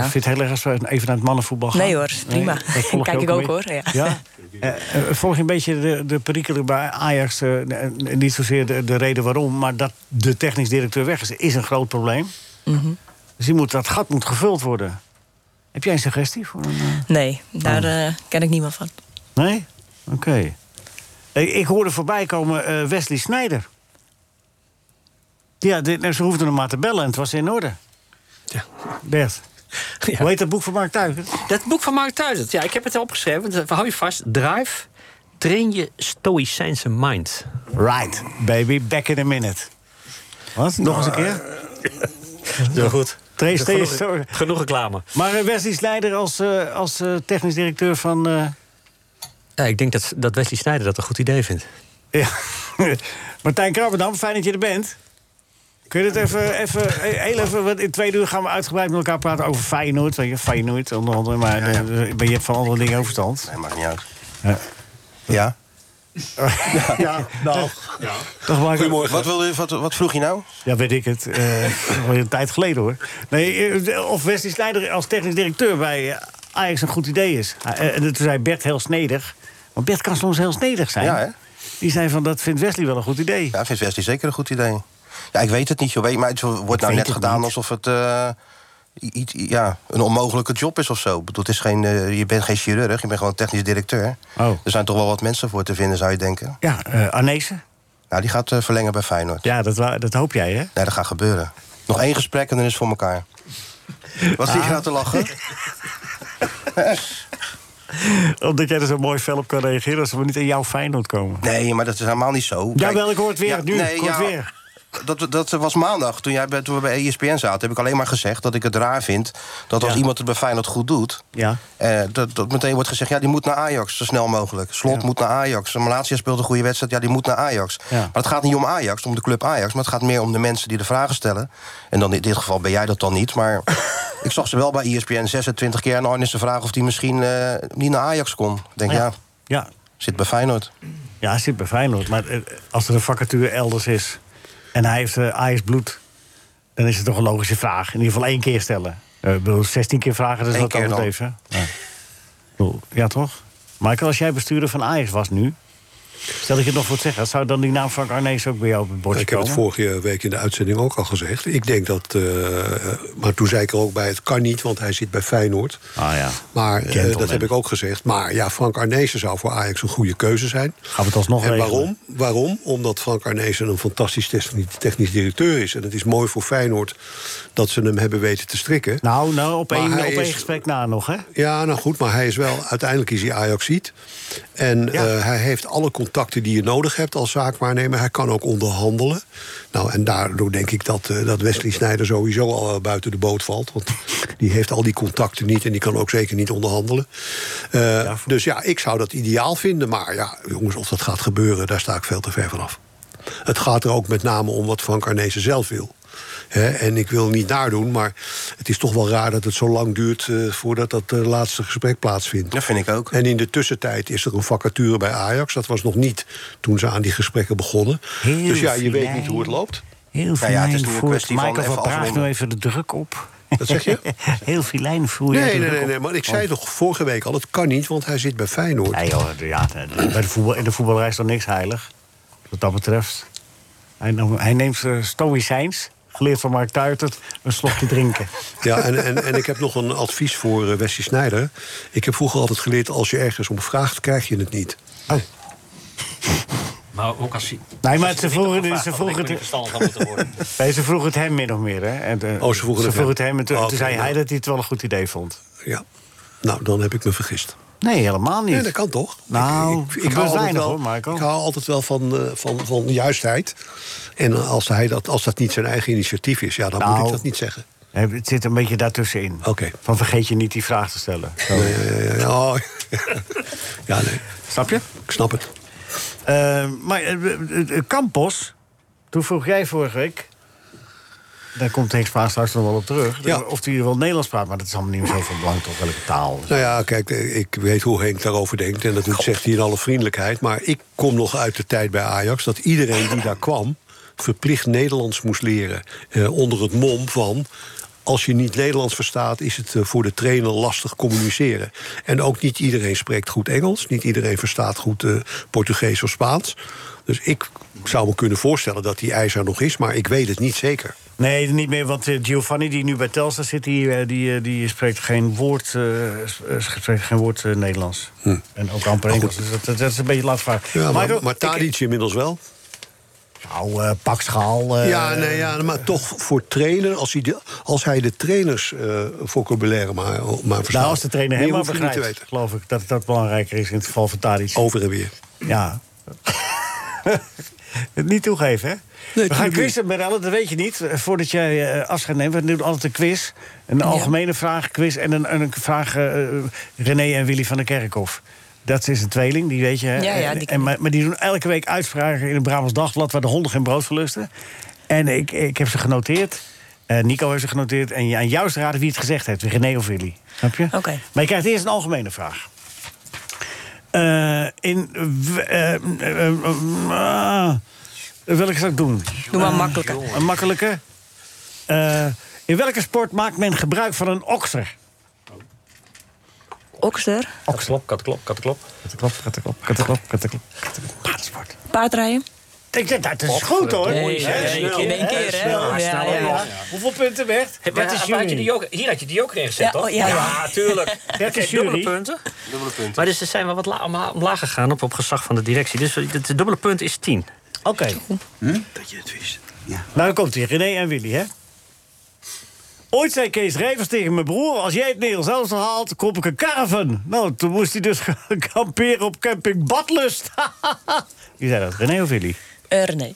Vind je het heel erg als we even naar het mannenvoetbal gaan? Nee hoor, prima. dat volg je Kijk ik ook een beetje? hoor, ja. Ja? Eh, eh, volg je een beetje de, de perikelen bij Ajax? eh, eh, niet zozeer de, de reden waarom, maar dat de technisch directeur weg is, is een groot probleem. Dus die moet, dat gat moet gevuld worden. Heb jij een suggestie voor een. eh, Nee, daar eh, ken ik niemand van. Nee? Oké. Eh, Ik, ik hoorde voorbij komen eh, Wesley Snijder. Ja, dit, nou, ze hoefden hem maar te bellen en het was in orde. Ja. Bert. Ja. Hoe heet dat boek van Mark Tuigen? Dat boek van Mark Tuizert, ja, ik heb het al opgeschreven. Dus hou je vast. Drive, train je stoïcijnse mind. Right, baby, back in a minute. Wat? Nog eens een keer? Zo goed. Trace Trace- Genoeg, genoeg reclame. Maar eh, Wesley Snijder als, eh, als eh, technisch directeur van... eh, Ja, ik denk dat, dat Wesley Snijder dat een goed idee vindt. ja. Martijn Krabbendam, fijn dat je er bent. Kun je het even, even, eh, heel even, want in twee uur gaan we uitgebreid met elkaar praten over Feyenoord. Weet je, Feyenoord eh, onder andere, maar eh, je hebt van andere dingen overstand. Nee, maakt niet uit. Ja. Ja? Ja, nou. Dag, Michael. Goedemorgen. Wat, wilde, wat, wat vroeg je nou? Ja, weet ik het. Eh, Alweer een tijd geleden hoor. Nee, eh, of Wesley Sneijder als technisch directeur bij eh, Ajax een goed idee is. Eh, En toen zei Bert heel snedig. Want Bert kan soms heel snedig zijn. Ja, hè? Die zei van dat vindt Wesley wel een goed idee. Ja, vindt Wesley zeker een goed idee. Ja, ik weet het niet, joh. Weet- Maar het wordt nou weet net het gedaan niet. alsof het eh, iets, ja, een onmogelijke job is of zo. Ik bedoel, het is geen, eh, je bent geen chirurg, je bent gewoon technisch directeur. Oh. Er zijn toch wel wat mensen voor te vinden, zou je denken. Ja, eh Arnezen? Nou, die gaat eh, verlengen bij Feyenoord. Ja, dat, wa- dat hoop jij hè? Ah. Nee, dat gaat gebeuren. Nog één gesprek en dan is het voor elkaar. Wat zie je nou te lachen? Omdat jij er zo mooi fel op kan reageren als we niet in jouw Feyenoord komen. Nee, maar dat is helemaal niet zo. Oh, Kijk, Jawel, ik hoor het weer. ja, nu, nee, ik hoor het ja, weer. Dat, dat was maandag, toen, jij, bij- toen we bij E ESPN zaten... heb ik alleen maar gezegd dat ik het raar vind... dat als Ja. iemand het bij Feyenoord goed doet... Ja. eh, dat, dat meteen wordt gezegd, ja, die moet naar Ajax, zo snel mogelijk. Slot moet naar Ajax. Malatia speelt een goede wedstrijd, ja, die moet naar Ajax. Ja. Maar het gaat niet om Ajax, om de club Ajax... maar het gaat meer om de mensen die de vragen stellen. En dan in dit geval ben jij dat dan niet, maar... ik zag ze wel bij E ESPN 26 keer aan Arnissen vragen... of die misschien eh, niet naar Ajax kon. Ik denk, ja, Oh Ja, zit bij Feyenoord. ja hij zit bij Feyenoord. Maar eh, als er een vacature elders is en hij heeft eh Ajax bloed... dan is het toch een logische vraag. In ieder geval één keer stellen. Eh, ik bedoel, 16 keer vragen, dat is Eén wat keer dan. overdreven. hè? Ja. Ik bedoel, ja, toch? Michael, als jij bestuurder van Ajax was nu... stel dat je het nog voor het zeggen... zou dan die naam Frank Arnees ook bij jou op het bordje Ik heb het komen? vorige week in de uitzending ook al gezegd. Ik denk dat. eh, maar toen zei ik er ook bij: het kan niet, want hij zit bij Feyenoord. Ah ja, Maar eh, Gentleman. dat heb ik ook gezegd. Maar ja, Frank Arnezen zou voor Ajax een goede keuze zijn. gaan we het alsnog en regelen. waarom? Waarom? Omdat Frank Arnezen een fantastisch techni- technisch directeur is. En het is mooi voor Feyenoord dat ze hem hebben weten te strikken. Nou, nou, op, Maar één, op hij één is- gesprek na nog, hè? Ja, nou goed, maar hij is wel... Uiteindelijk is hij Ajaxiet. En eh, hij heeft alle contacten die je nodig hebt als zaakwaarnemer. Hij kan ook onderhandelen. Nou, en daardoor denk ik dat, eh, dat Wesley Sneijder sowieso al eh, buiten de boot valt. Want die heeft al die contacten niet en die kan ook zeker niet onderhandelen. Eh, dus ja, ik zou dat ideaal vinden. Maar ja, jongens, of dat gaat gebeuren, daar sta ik veel te ver vanaf. Het gaat er ook met name om wat Frank Arnezen zelf wil. Hè, en ik wil niet nadoen, maar het is toch wel raar dat het zo lang duurt eh, voordat dat eh, laatste gesprek plaatsvindt. Dat vind ik ook. En in de tussentijd is er een vacature bij Ajax. Dat was nog niet toen ze aan die gesprekken begonnen. Heel dus ja, je weet fijn. niet hoe het loopt. Heel Nou ja, het filijn is toch een voert kwestie van Michael van even Praag nou afronden. nu even de druk op. Wat zeg je? Heel filijn voer jij Nee, de nee, druk nee, op. nee, maar ik zei toch vorige week al, het kan niet, want hij zit bij Feyenoord. Nee, joh, ja, bij eh, de voetbal, in de voetballerij is dan niks heilig. Wat dat betreft. Hij, nam- hij neemt eh, stoïcijns, geleerd van Mark Tuitert, een slokje drinken. Ja, en, en, en ik heb nog een advies voor eh, Wesley Snijder. Ik heb vroeger altijd geleerd, als je ergens om vraagt, krijg je het niet. Maar ook als hij. Nee, maar ze vroegen, Vraag ze had, vroegen, ik ben het- niet verstandig aan moeten worden. nee, ze vroegen het hem min of meer. Hè? En, eh, Oh, ze vroegen het hem. hem. En toen, Oh, toen oké, zei nou. hij dat hij het wel een goed idee vond. Ja. Nou, dan heb ik me vergist. Nee, helemaal niet. Nee, dat kan toch? Nou, gebeurt hou altijd weinig, wel- hoor, Marco. Ik hou altijd wel van, eh, van, van juistheid. En als, hij dat, als dat niet zijn eigen initiatief is, ja, dan moet Nou. ik dat niet zeggen. Eh, Het zit een beetje daartussenin. Oké. Van vergeet je niet die vraag te stellen. Zo. Nee, ja, ja, ja. Oh. ja, nee, Snap je? ik snap het. Eh, maar eh, eh, eh, Campos, toen vroeg jij vorige week... daar komt Henk Spaans straks nog wel op terug... Ja. of hij wel Nederlands praat, maar dat is allemaal niet meer zo van belang... toch welke taal. Nou ja, kijk, eh, ik weet hoe Henk daarover denkt. En dat zegt hij in alle vriendelijkheid. Maar ik kom nog uit de tijd bij Ajax dat iedereen die daar kwam... verplicht Nederlands moest leren. Eh, onder het mom van... Als je niet Nederlands verstaat, is het eh, voor de trainer lastig communiceren. En ook niet iedereen spreekt goed Engels. Niet iedereen verstaat goed eh, Portugees of Spaans. Dus ik zou me kunnen voorstellen dat die ijzer nog is, maar ik weet het niet zeker. Nee, niet meer, want eh, Giovanni, die nu bij Telstar zit... die, eh, die, eh, die spreekt geen woord, eh, s- eh, spreekt geen woord eh, Nederlands. En ook amper Engels, dus dat, dat is een beetje lastig. Hm. Ja, maar, Michael, maar ik- Tadic inmiddels wel. Nou, eh, pak schaal. eh, Ja, nee, ja, maar toch voor trainer, als hij de, als hij de trainers eh, vocabulaire maar, maar verstaat. Nou, als de trainer Meer helemaal hoef je niet te begrijpt, weten. geloof ik... dat dat belangrijker is in het geval van Tadic. Over en weer. Ja. Het niet toegeven, hè? We gaan tuurlijk quizzen, Merelle, dat weet je niet. Eh, Voordat jij eh, afscheid neemt, we doen altijd een quiz. Een algemene vraagquiz en een, en een vraag eh, eh, René en Willy van der Kerkhof. Dat is een tweeling, die weet je. Hè? Eh, Ja, ja, En- die ken en, maar, maar die doen elke week uitspraken in het Brabants Dagblad... waar de honden geen brood verlusten. En ik, ik heb ze genoteerd. Eh, Nico heeft ze genoteerd. En aan jou is te raden wie het gezegd heeft. René of Willy. Snap je? Oké. Maar je krijgt eerst een algemene vraag. Eh, in. w- eh, eh, eh, ah, welke zal ik doen? Doe maar een makkelijke. Een makkelijke. Eh, in welke sport maakt men gebruik van een okser? Okster, Kattenklop, kattenklop, kattenklop. Kattenklop, kattenklop, kattenklop, kattenklop. paardrijden. Ik denk dat is goed hoor. Nee, nee, Hè, nee, snel, in één hè, keer, hè? snel. Ja, Snel, ja, hè? ja. Hoeveel punten weg? Heb, had je die ook, hier had je die ook ingezet, Ja, toch? oh, ja, ja. tuurlijk. Dat Oké, is dubbele jury. punten. Dubbele punten. Maar dus ze zijn wel wat la- omla- omlaag gegaan op, op gezag van de directie. Dus het dubbele punt is 10. Oké. Hm? Dat je het wist. Nou, dan komt hier René en Willy, hè? Ooit zei Kees Rijvers tegen mijn broer... als jij het Nederlands zelfs haalt, koop ik een caravan. Nou, toen moest hij dus gaan kamperen op camping Badlust. Wie zei dat, René of Willy? Eh, René.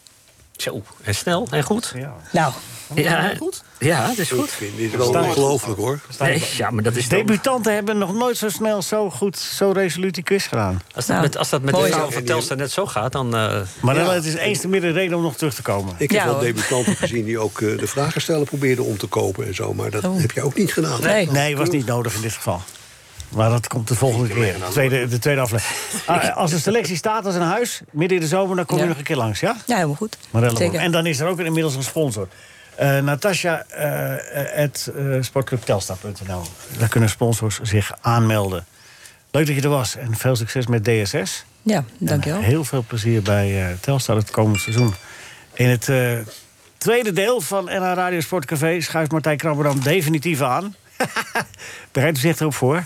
Zo, en Eh, snel en goed. Ja, Nou, ja, ja het is Ik goed. vind dit wel Staat- ongelooflijk hoor. Nee, ja, maar dat is dan- Debutanten hebben nog nooit zo snel, zo goed, zo resoluut die quiz gedaan. Als dat Nou, met, als dat met de mooi vrouw zo. van Telstra net zo gaat, dan... eh, Maar dan, het is eens te meer de reden om nog terug te komen. Ik heb Ja, wel hoor. debutanten gezien die ook eh, de vragen stellen probeerden om te kopen en zo. Maar Oh. dat heb je ook niet gedaan. nee. Nee, was niet nodig in dit geval. Maar dat komt de volgende keer. De tweede, de tweede aflevering. Ah, als de selectie staat als een huis, midden in de zomer, dan kom je Ja. nog een keer langs, ja? Ja, helemaal goed. Marella Zeker. Boom. En dan is er ook inmiddels een sponsor. Eh Natasja, eh, at, eh, sportclubtelstar.nl. Daar kunnen sponsors zich aanmelden. Leuk dat je er was en veel succes met DSS. Ja, dankjewel. En heel veel plezier bij eh Telstar het komende seizoen. In het eh, tweede deel van NH Radio Sportcafé schuift Martijn Krabberdam definitief aan. Bereidt u zich erop voor.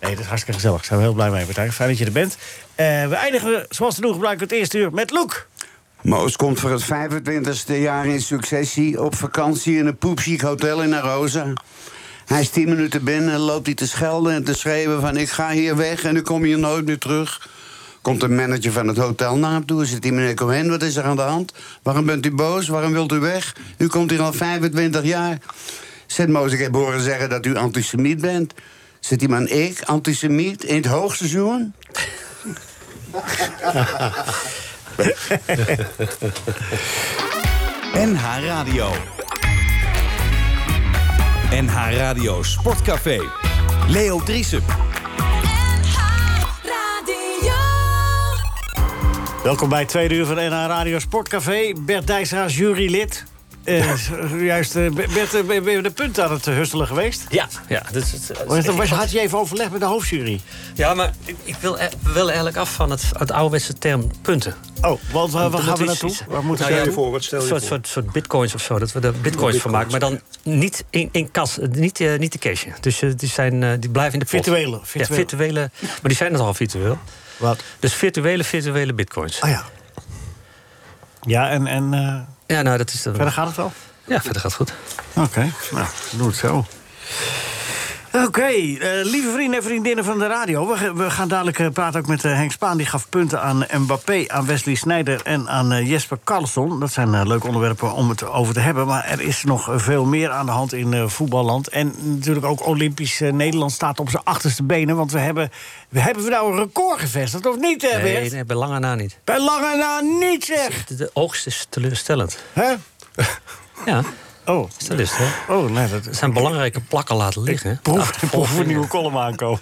Nee, dat is hartstikke gezellig. Daar zijn we heel blij mee, Martijn. Fijn dat je er bent. Eh, we eindigen, zoals te doen gebruiken, het eerste uur met Loek. Moos komt voor het 25e jaar in successie op vakantie in een poepchic hotel in Arosa. Hij is 10 minuten binnen en loopt hij te schelden en te schreeuwen van ik ga hier weg en ik kom hier nooit meer terug. Komt de manager van het hotel naar hem toe en zegt hij meneer Cohen, wat is er aan de hand? Waarom bent u boos? Waarom wilt u weg? U komt hier al 25 jaar. Zegt Moos, ik heb horen zeggen dat u antisemiet bent. Zegt die man, ik, antisemiet, in het hoogseizoen? NH Radio. NH Radio Sportcafé. Leo Driesen. Radio. Welkom bij het tweede uur van NH Radio Sportcafé. Bert Dijsra, jurylid. Eh, juist, eh, Bert, eh, ben je de punt aan het eh, hustelen geweest? ja, ja. Dus, het- het- Was, was, had je even overleg met de hoofdjury? Ja, maar ik, ik wil, eh, we willen eigenlijk af van het, het ouderwetse term punten. Oh, want waar, waar Dat gaan we is naartoe? iets- Waar moeten we Nou ja, naartoe? voor? Wat stel Een je soort, voor? soort, soort bitcoins of zo, dat we er bitcoins van maken. Maar dan niet in, in kas, eh, niet, eh, niet de cashje. Dus eh, die, zijn, eh, die blijven in de pot. Virtuele, Ja, virtuele. virtuele. Maar die zijn nogal virtueel. Wat? Dus virtuele, virtuele bitcoins. Ah ja. Ja, en, en eh, Ja, nou, dat is... dan- verder gaat het wel? Ja, verder gaat het goed. Oké, nou, doe het zo. Oké, eh, lieve vrienden en vriendinnen van de radio. We, ge- we gaan dadelijk eh, praten ook met eh, Henk Spaan. Die gaf punten aan Mbappé, aan Wesley Sneijder en aan eh, Jesper Carlsson. Dat zijn eh, leuke onderwerpen om het over te hebben. Maar er is nog eh, veel meer aan de hand in eh, voetballand. En natuurlijk ook Olympisch eh, Nederland staat op zijn achterste benen. Want we hebben, we hebben we nou een record gevestigd, of niet, hè, Bert? Nee, nee, bij lange na niet. Bij lange na niet, zeg! De, de oogst is teleurstellend. Hè? Ja, Oh, teleurstellend. hè? oh, nee, dat Er zijn belangrijke plakken laten liggen. Ah, hè? Proef, Achter- proef een nieuwe column aankomen.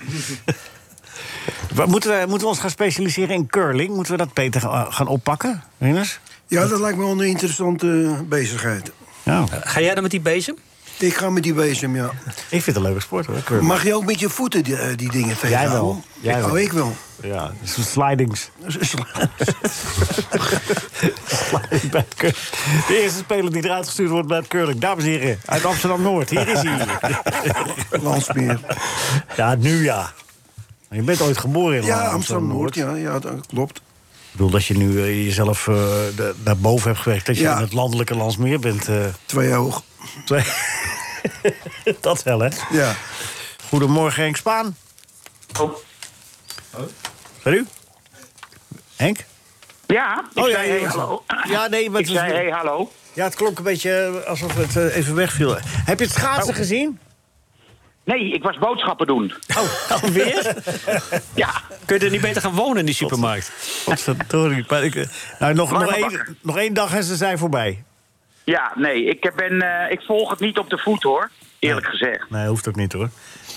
Wat, moeten, we, moeten we ons gaan specialiseren in curling? Moeten we dat beter eh, gaan oppakken, Rinus? Ja, dat lijkt me wel een interessante bezigheid. Ja, Eh, Ga jij dan met die bezem? Ik ga met die bezem, ja. ik vind het een leuke sport hoor, curling. Mag je ook met je voeten die, eh, die dingen tegenhouden? wel. Jij wel. Oh, ik wel. Ja, dat is een slidings. Sliding bij het curling. De eerste speler die eruit gestuurd wordt bij het curling. Dames en heren, uit Amsterdam-Noord. Hier is hij. Landsmeer. Ja, nu ja. Maar Je bent ooit geboren in Ja, Amsterdam-Noord. Amsterdam-Noord, ja, ja, dat klopt. Ik bedoel, dat je nu eh, jezelf eh, da- naar boven hebt gewerkt. Dat je Ja. in het landelijke Landsmeer bent. eh, Twee hoog. Twee. dat wel, hè? Ja. Goedemorgen, Henk Spaan. Oh. Ben u? Henk? Ja, ik Oh, ja, zei ja, hey, ja. hallo. Ja, nee, maar ik het is- zei hey, hallo. Ja, het klonk een beetje eh, alsof het eh, even wegviel. Heb je het schaatsen gezien? Oh. Nee, ik was boodschappen doen. Oh, alweer? Ja, Kun je er niet beter gaan wonen in die supermarkt? Godverdorie. maar ik, eh, Nou, nog, nog, Warme één, bakken. nog één dag en ze zijn voorbij. ja nee, ik, ben, eh, ik volg het niet op de voet hoor, eerlijk gezegd. Nee, hoeft ook niet, hoor.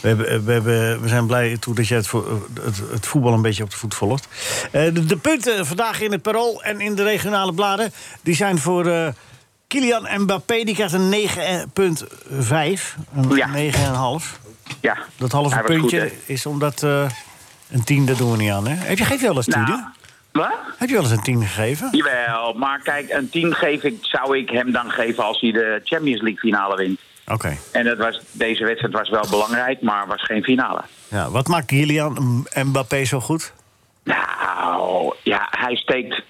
We, hebben, eh, we, hebben, we zijn blij toe dat jij het, vo- eh, het, het voetbal een beetje op de voet volgt. Eh, de, de punten vandaag in het Parool en in de regionale bladen... die zijn voor eh, Kylian Mbappé. Die krijgt een 9,5. Een 9,5. Ja. Dat halve Hij was puntje goed, hè? is omdat... eh, een 10, dat doen we niet aan, hè? Heb je, geef je wel eens 10, Nou, Wat? Heb je wel eens een 10 gegeven? Jawel, maar kijk, een 10 geef ik, zou ik hem dan geven als hij de Champions League finale wint. Oké. En dat was, deze wedstrijd was wel belangrijk, maar was geen finale. Ja, wat maakt Kylian Mbappé zo goed? Nou, ja, hij steekt.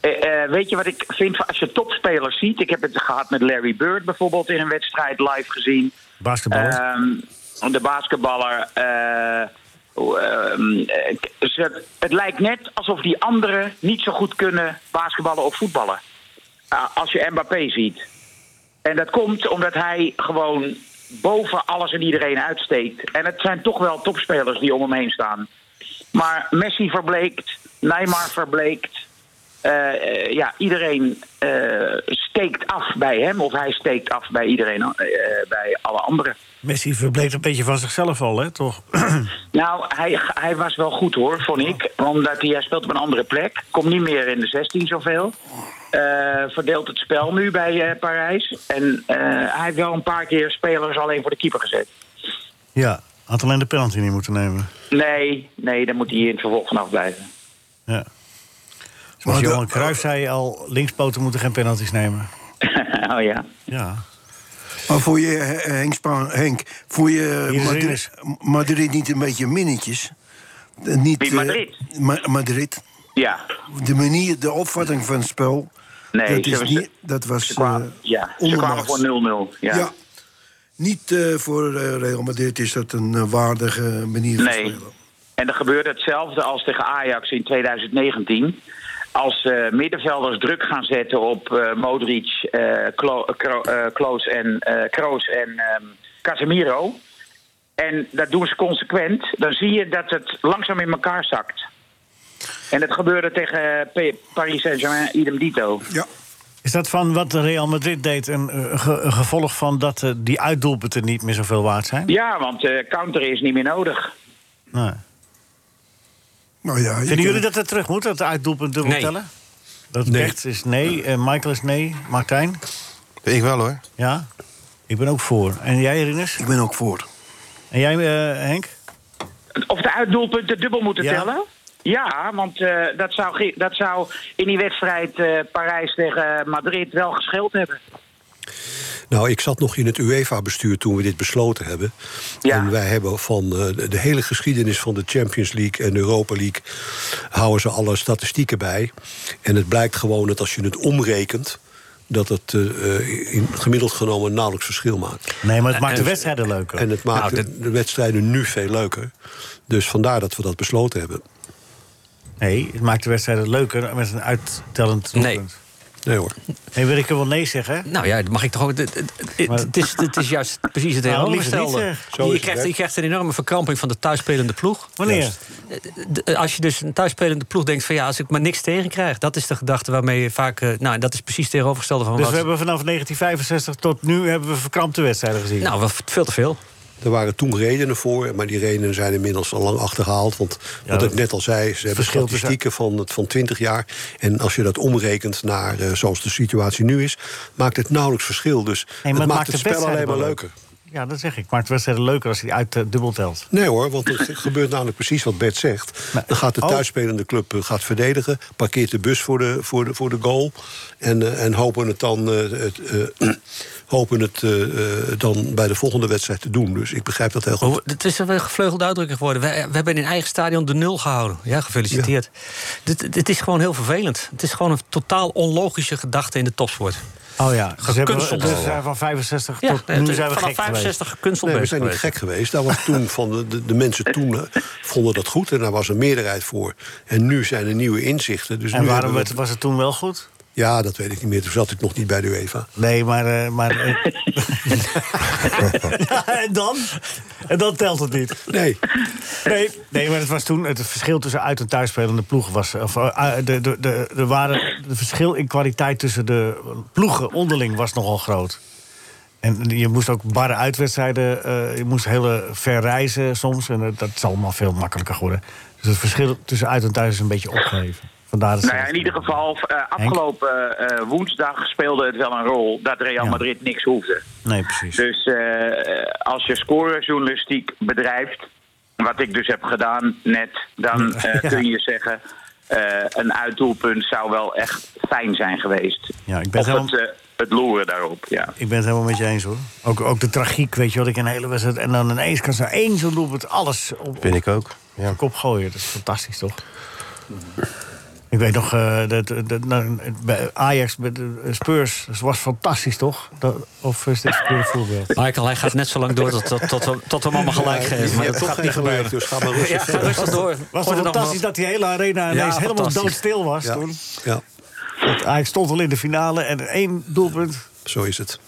Eh, eh, weet je wat ik vind van- als je topspelers ziet? Ik heb het gehad met Larry Bird bijvoorbeeld in een wedstrijd live gezien. Basketballer. Ehm, de basketballer. eh, hoe, ehm, eh, k- ze- het lijkt net alsof die anderen niet zo goed kunnen basketballen of voetballen. Ah, als je Mbappé ziet. En dat komt omdat hij gewoon boven alles en iedereen uitsteekt. En het zijn toch wel topspelers die om hem heen staan. Maar Messi verbleekt, Neymar verbleekt. Eh, eh, ja, iedereen eh, steekt af bij hem. Of hij steekt af bij iedereen, eh, bij alle anderen. Messi verbleekt een beetje van zichzelf al, hè, toch? Nou, hij, hij was wel goed hoor, vond ik. Omdat hij, hij speelt op een andere plek. Komt niet meer in de 16 zoveel. Eh, verdeelt het spel nu bij eh, Parijs. En eh, hij heeft wel een paar keer spelers alleen voor de keeper gezet. Ja, had alleen de penalty niet moeten nemen. Nee, nee, dan moet hij in het vervolg vanaf blijven. Zoals Johan Cruijff zei al, linkspoten moeten geen penalties nemen. oh ja. Ja. Maar voel je, eh, Henk, Spaan, Henk voel je Hier is Madrid, Rinus. Madrid niet een beetje minnetjes? Eh, Niet, Wie, eh, Madrid? Ma- Madrid. Ja. De manier, de opvatting van het spel. Nee, dat, ze is was- niet, dat was eh, Ja, ze ondermaats. kwamen voor 0-0. Ja. Ja. Niet eh, voor eh, Real Madrid is dat een eh, waardige manier van Nee. En er gebeurde hetzelfde als tegen Ajax in 2019. Als eh, middenvelders druk gaan zetten op eh, Modric, eh, Klo- eh, Kro- eh, Kloos en, eh, Kroos en ehm, Casemiro. En dat doen ze consequent. Dan zie je dat het langzaam in elkaar zakt. En dat gebeurde tegen eh, P- Paris Saint-Germain, idem dito. Ja. Is dat van wat Real Madrid deed een, eh, ge- een gevolg van dat eh, die uitdoelpunten niet meer zoveel waard zijn? Ja, want eh counter is niet meer nodig. Nee. Nou ja, Vinden jullie dat het terug moet, dat de uitdoelpunten moet tellen? Dat Nee. Bert is nee, eh, Michael is nee, Martijn? Ik wel hoor. Ja, ik ben ook voor. En jij, Rinus? Ik ben ook voor. En jij, eh, Henk? Of de uitdoelpunten dubbel moeten Ja. tellen? Ja, want eh, dat, zou, ge- dat zou in die wedstrijd eh, Parijs tegen Madrid wel gescheeld hebben. Nou, ik zat nog in het UEFA-bestuur toen we dit besloten hebben. En wij hebben van eh, de- de hele geschiedenis van de Champions League en de Europa League... houden ze alle statistieken bij. En het blijkt gewoon dat als je het omrekent... dat het eh, eh, in, gemiddeld genomen nauwelijks verschil maakt. Nee, maar het maakt de En- wedstrijden leuker. En het maakt Nou, de wedstrijden nu veel leuker. Dus vandaar dat we dat besloten hebben. Nee, het maakt de wedstrijden leuker met een uittellend doelpunt. Nee hoor. Nee, wil ik er wel nee zeggen? Nou ja, dat mag ik toch ook. Het, het- het- het is, het is juist precies het Nou, tegenovergestelde. liever niet, zeg. Zo is je, het, krijgt, hè? je krijgt een enorme verkramping van de thuisspelende ploeg. Wanneer? Juist. D- d- Als je dus een thuisspelende ploeg denkt van ja, als ik maar niks tegen krijg, dat is de gedachte waarmee je vaak. eh, Nou, dat is precies het tegenovergestelde van Dus wat. we hebben vanaf 1965 tot nu hebben we verkrampte wedstrijden gezien. Nou, wel veel te veel. Er waren toen redenen voor, maar die redenen zijn inmiddels al lang achterhaald. Want wat ik net al zei, ze hebben verschil tussen- statistieken van, het- van 20 jaar. En als je dat omrekent naar eh, zoals de situatie nu is, maakt het nauwelijks verschil. Dus Nee, maar het maakt het de spel alleen wedstrijden maar wel leuker. Ja, dat zeg ik. Maakt de wedstrijden leuker als hij uit eh, dubbel telt. Nee hoor, want het gebeurt namelijk precies wat Bert zegt. Dan gaat de Oh. thuisspelende club eh, gaat verdedigen, parkeert de bus voor de, voor de, voor de goal. En, eh, en hopen het, dan, eh, het, eh, hopen het eh, eh, dan bij de volgende wedstrijd te doen. Dus ik begrijp dat Oh, heel goed. Hoe- Het is een gevleugelde uitdrukking geworden. We, we hebben in eigen stadion de nul gehouden. Ja, gefeliciteerd. Dit, dit is gewoon heel vervelend. Het is gewoon een totaal onlogische gedachte in de topsport. Oh ja, dus hebben we- Gekunsteld. dus we zijn van 65 Ja, tot nee, nu het- zijn we vanaf gek 65 geweest. gekunsteld Nee, we bezig zijn niet geweest. gek geweest. Daar was toen van de, de, de mensen toen eh, vonden dat goed en daar was een meerderheid voor. En nu zijn er nieuwe inzichten. Dus En nu waarom hebben we- werd- was het toen wel goed? Ja, dat weet ik niet meer. Toen zat ik nog niet bij de UEFA. Nee, maar... eh, maar eh, ja, en dan? En dan telt het niet. Nee. Nee, nee maar het was toen... Het verschil tussen uit- en thuisspelende ploegen was... Of, eh, de, de, de, de, waren, de verschil in kwaliteit tussen de ploegen onderling was nogal groot. En je moest ook barre uitwedstrijden. eh, je moest hele ver reizen soms. En eh, dat is allemaal veel makkelijker geworden. Dus het verschil tussen uit en thuis is een beetje opgeheven. Vandaar dat ze- Nou ja, in ieder geval, eh, afgelopen eh, eh, woensdag speelde het wel een rol dat Real Madrid niks hoefde. Nee, precies. Dus eh, als je scorejournalistiek bedrijft, wat ik dus heb gedaan net, dan Ja. eh, kun je zeggen. eh, een uitdoelpunt zou wel echt fijn zijn geweest. Ja, ik ben of het het, eh, het loeren daarop, ja. Ik ben het helemaal met je eens hoor. Ook, ook de tragiek, weet je wat ik een hele wedstrijd. En dan ineens kan ze één zo'n doelpunt alles op, Vind ik ook. op de kop gooien. Dat is fantastisch toch? Ik weet nog, eh, dat, dat, nou, bij Ajax, bij de Spurs, dat was fantastisch toch? Dat, of is dit een verkeerde voorbeeld? Michael, hij gaat net zo lang door tot, tot, tot, we- tot we hem allemaal gelijk Ja, geven. je Maar hebt dat toch gaat geen niet gelijk, gebeuren. dus ga maar rustig Ja, ga verder. rustig door. Was Gooi toch er nog fantastisch wat- dat die hele arena ineens Ja, helemaal fantastisch. doodstil was Ja. toen? Ja. Want Ajax stond al in de finale en één doelpunt. Zo is het.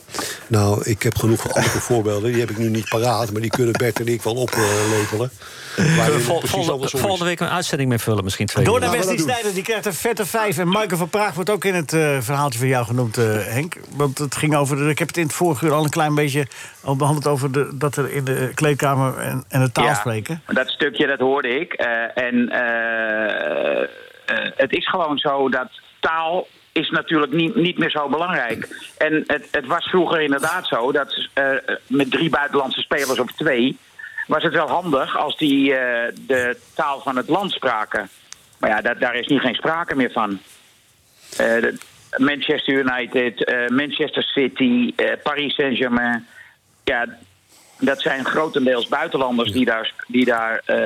Nou, ik heb genoeg andere voorbeelden. Die heb ik nu niet paraat, maar die kunnen Bert en ik wel oplepelen. Kunnen we Waarin vol- het precies volgende, andersom is. volgende week een uitzending mee vullen, misschien twee Door uur. naar Wesley Sneijder, die krijgt een vette vijf. En Michael van Praag wordt ook in het eh, verhaaltje van jou genoemd, eh, Henk. Want het ging over, de- ik heb het in het vorige uur al een klein beetje al behandeld... over de, dat er in de kleedkamer en, en het taal Ja, spreken. Dat stukje, dat hoorde ik. Eh, en eh, eh, het is gewoon zo dat taal is natuurlijk niet, niet meer zo belangrijk. En het, het was vroeger inderdaad zo dat eh, met drie buitenlandse spelers of twee... was het wel handig als die eh, de taal van het land spraken. Maar ja, dat, daar is nu geen sprake meer van. Eh, dat- Manchester United, eh, Manchester City, eh, Paris Saint-Germain. Ja, dat zijn grotendeels buitenlanders die daar, die daar eh,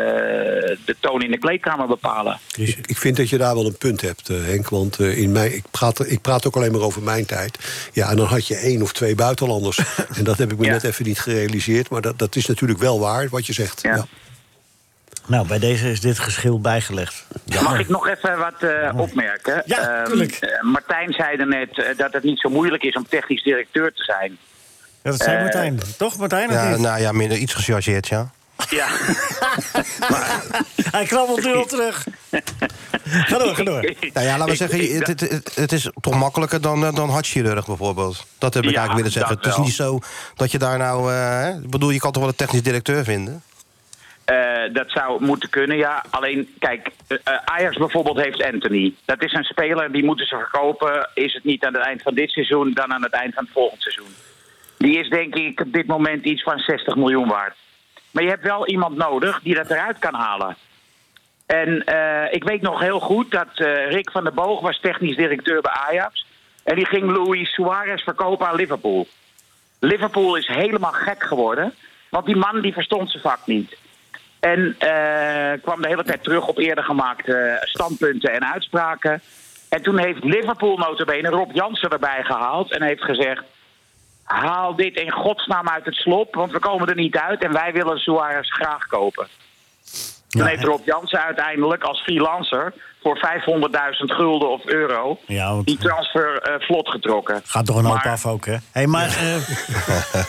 de toon in de kleedkamer bepalen. Ik, ik vind dat je daar wel een punt hebt, eh, Henk. Want eh, in mijn, ik, praat, er- ik praat ook alleen maar over mijn tijd. Ja, en dan had je één of twee buitenlanders. en dat heb ik me net even niet gerealiseerd. Maar dat, dat is natuurlijk wel waar, wat je zegt. Ja. Nou, bij deze is dit geschil bijgelegd. Mag ik nog even wat eh, opmerken? Ja, Martijn zei er net eh, dat het niet zo moeilijk is om technisch directeur te zijn. Ja, dat zei Eh, Martijn. Toch, Martijn? of Ja, niet? nou ja, minder, iets gechargeerd, ja. Ja. Hij krabbelt nu al terug. Ga door, ga door. Nou ja, laten we zeggen, het, het, het- het is toch makkelijker dan, eh, dan hartchirurg bijvoorbeeld. Dat heb ik Ja, eigenlijk willen zeggen. dat Het is wel. niet zo dat je daar nou... eh, hè? ik bedoel, je kan toch wel een technisch directeur vinden? Eh, dat zou moeten kunnen, ja. Alleen, kijk, eh, eh, Ajax bijvoorbeeld heeft Anthony. Dat is een speler, die moeten ze verkopen. Is het niet aan het eind van dit seizoen, dan aan het eind van het volgend seizoen. Die is denk ik op dit moment iets van 60 miljoen waard. Maar je hebt wel iemand nodig die dat eruit kan halen. En eh, ik weet nog heel goed dat eh, Rick van der Boog was technisch directeur bij Ajax. En die ging Luis Suarez verkopen aan Liverpool. Liverpool is helemaal gek geworden. Want die man die verstond zijn vak niet. En eh, kwam de hele tijd terug op eerder gemaakte eh, standpunten en uitspraken. En toen heeft Liverpool notabene Rob Jansen erbij gehaald. En heeft gezegd, haal dit in godsnaam uit het slop. Want we komen er niet uit en wij willen Suarez graag kopen. Toen heeft Rob Jansen uiteindelijk als freelancer voor 500.000 gulden of euro... Ja, want- die transfer eh, vlot getrokken. Gaat toch een hoop Maar- af ook, hè? Hey, maar, eh,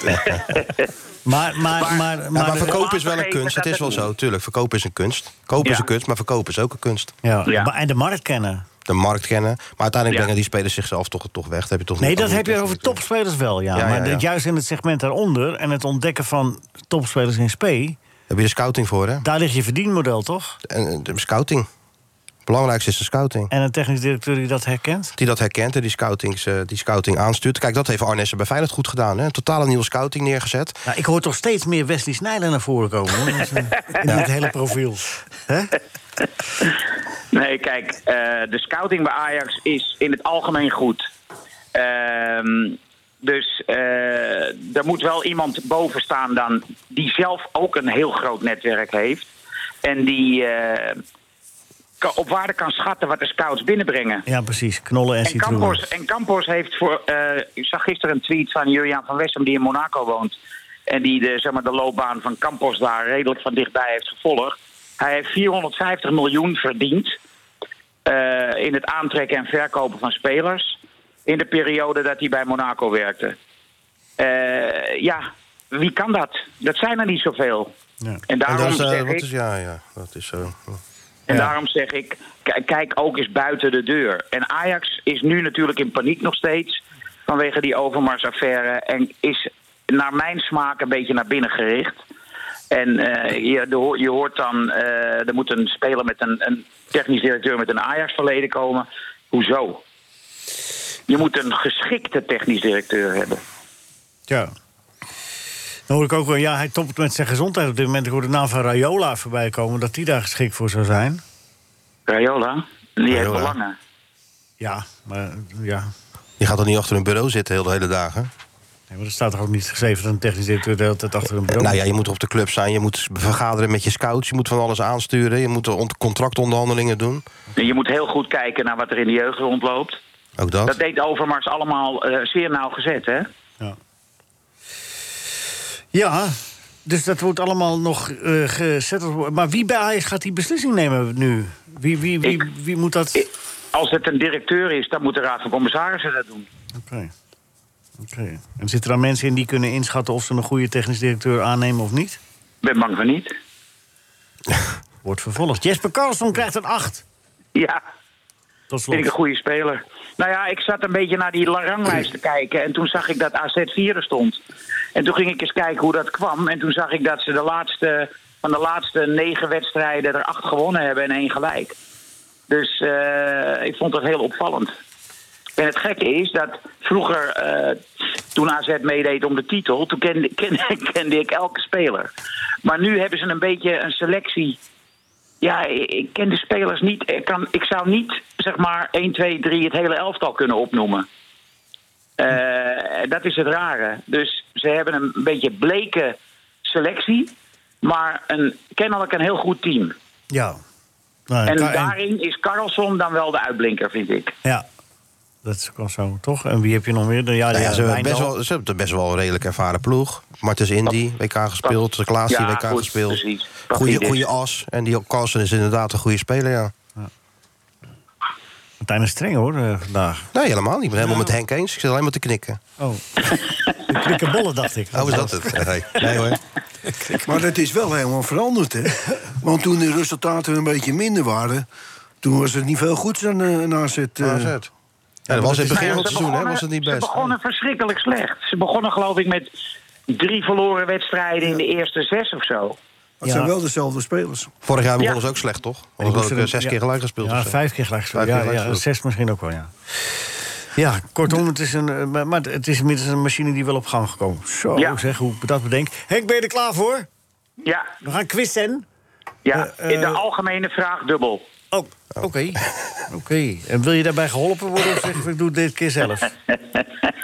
maar, maar, maar, maar, Maar, maar verkopen is wel een kunst, dat is wel zo, tuurlijk. Verkopen is een kunst. Kopen is Ja. een kunst, maar verkopen is ook een kunst. Ja, eh, maar- En de markt kennen. De markt kennen. Maar uiteindelijk Ja. brengen die spelers zichzelf toch, toch weg. Dat heb je toch Nee, niet- dat heb je over topspelers wel, ja. Ja, ja, maar dat ja. juist in het segment daaronder en het ontdekken van topspelers in SP. Heb je de scouting voor, hè? Daar ligt je verdienmodel, toch? En, eh, de scouting. Het belangrijkste is de scouting. En een technisch directeur die dat herkent? Die dat herkent en die, scoutings, eh, die scouting aanstuurt. Kijk, dat heeft Arnessen bij Feyenoord goed gedaan. Hè? Een totale nieuwe scouting neergezet. Nou, ik hoor toch steeds meer Wesley Snijder naar voren komen. Hoor. Dat is, eh, In het hele profiel. Hè? Nee, kijk, eh, de scouting bij Ajax is in het algemeen goed. Ehm, dus eh, er moet wel iemand boven staan dan die zelf ook een heel groot netwerk heeft. En die eh, ka- op waarde kan schatten wat de scouts binnenbrengen. Ja, precies. Knollen en En Campos, citroenen. en Campos heeft voor. eh, ik zag gisteren een tweet van Juriaan van Wessem, die in Monaco woont. En die de, zeg maar, de loopbaan van Campos daar redelijk van dichtbij heeft gevolgd. Hij heeft 450 miljoen verdiend. eh, in het aantrekken en verkopen van spelers. in de periode dat hij bij Monaco werkte. Eh, ja, wie kan dat? Dat zijn er niet zoveel. En daarom dat is, eh, zeg wat ik- is, ja, ja, dat is eh, zo. en daarom zeg ik, k- kijk ook eens buiten de deur. En Ajax is nu natuurlijk in paniek nog steeds vanwege die overmarsaffaire. En is naar mijn smaak een beetje naar binnen gericht. En eh, je, de ho- je hoort dan, eh, er moet een speler met een, een technisch directeur met een Ajax-verleden komen. Hoezo? Je moet een geschikte technisch directeur hebben. Ja. Dan hoor ik ook wel, ja, hij topt met zijn gezondheid op dit moment. Ik hoor de naam van Rayola voorbij komen, dat die daar geschikt voor zou zijn. Rayola, die heeft Raiola. belangen. Ja, maar ja. Je gaat toch niet achter een bureau zitten heel de hele dagen? Nee, maar er staat toch ook niet geschreven dat een technisch directeur de hele tijd achter een bureau Nou ja, je moet op de club zijn, je moet vergaderen met je scouts... je moet van alles aansturen, je moet ont- contractonderhandelingen doen. En Je moet heel goed kijken naar wat er in de jeugd rondloopt. Ook dat. Dat deed Overmars allemaal eh, zeer nauwgezet, hè? Ja, dus dat wordt allemaal nog eh gezet. Maar wie bij Ajax gaat die beslissing nemen nu? Wie, wie, wie, wie moet dat... Als het een directeur is, dan moet de Raad van Commissarissen dat doen. Oké. Oké. En zitten daar mensen in die kunnen inschatten of ze een goede technisch directeur aannemen of niet? Ik ben bang van niet. Wordt vervolgd. Jesper Karlsson krijgt een 8. Ja. Tot Vind ik een goede speler. Nou ja, ik zat een beetje naar die ranglijst te kijken. En toen zag ik dat AZ 4 stond. En toen ging ik eens kijken hoe dat kwam. En toen zag ik dat ze de laatste, van de laatste negen wedstrijden er acht gewonnen hebben en één gelijk. Dus eh, ik vond dat heel opvallend. En het gekke is dat vroeger, eh, toen AZ meedeed om de titel, toen kende, kende, kende ik elke speler. Maar nu hebben ze een beetje een selectie ja, ik ik ken de spelers niet. Ik, kan, ik zou niet, zeg maar, 1, 2, 3 het hele elftal kunnen opnoemen. Eh, dat is het rare. Dus ze hebben een beetje bleke selectie, maar een, kennelijk een heel goed team. Ja. Nou, en Ka- daarin is Carlson dan wel de uitblinker, vind ik. Ja, dat is ook wel zo, toch? En wie heb je nog meer? Ja, Nou ja, ja, ze, hebben best Wijndal. wel, ze hebben best wel een redelijk ervaren ploeg. Martens Indy, WK gespeeld. Klaas, Ja, WK goed, gespeeld. precies. Goede, Pavlidis. goede as. En die Carlsen is inderdaad een goede speler, ja. Martijn is streng, hoor, eh, vandaag. Nee, helemaal niet. Ik ben helemaal met Henk eens. Ik zit alleen maar te knikken. Oh. De knikkenbollen, dacht ik. Oh, is dat het? Nee, nee hoor. Maar dat is wel helemaal veranderd, hè? Want toen de resultaten een beetje minder waren... toen was er niet veel goeds aan eh, aan AZ. eh. AZ. Ja, dat was in het begin Nou van ja, het ze seizoen, hè? begonnen- Was het niet Ze best? begonnen verschrikkelijk slecht. Ze begonnen, geloof ik, met drie verloren wedstrijden in de eerste zes of zo. Het zijn wel dezelfde spelers. Vorig jaar begonnen Ja. ze ook slecht, toch? En die Omdat moesten ik hem- zes ja. keer gelijk gespeeld Ja, of zo. vijf keer gelijk gespeeld. Vijf Ja, keer gelijk ja, gespeeld. zes misschien ook wel, ja. Ja, kortom, het is een, eh, maar- maar het is inmiddels een machine die wel op gang gekomen. is. Zo, zeg, hoe ik dat bedenk. Henk, ben je er klaar voor? Ja. We gaan quizzen. Ja, Eh, in de eh, algemene vraag dubbel. Oh, oké. Oh. Oké. En wil je daarbij geholpen worden of zeg je, ik doe het dit keer zelf?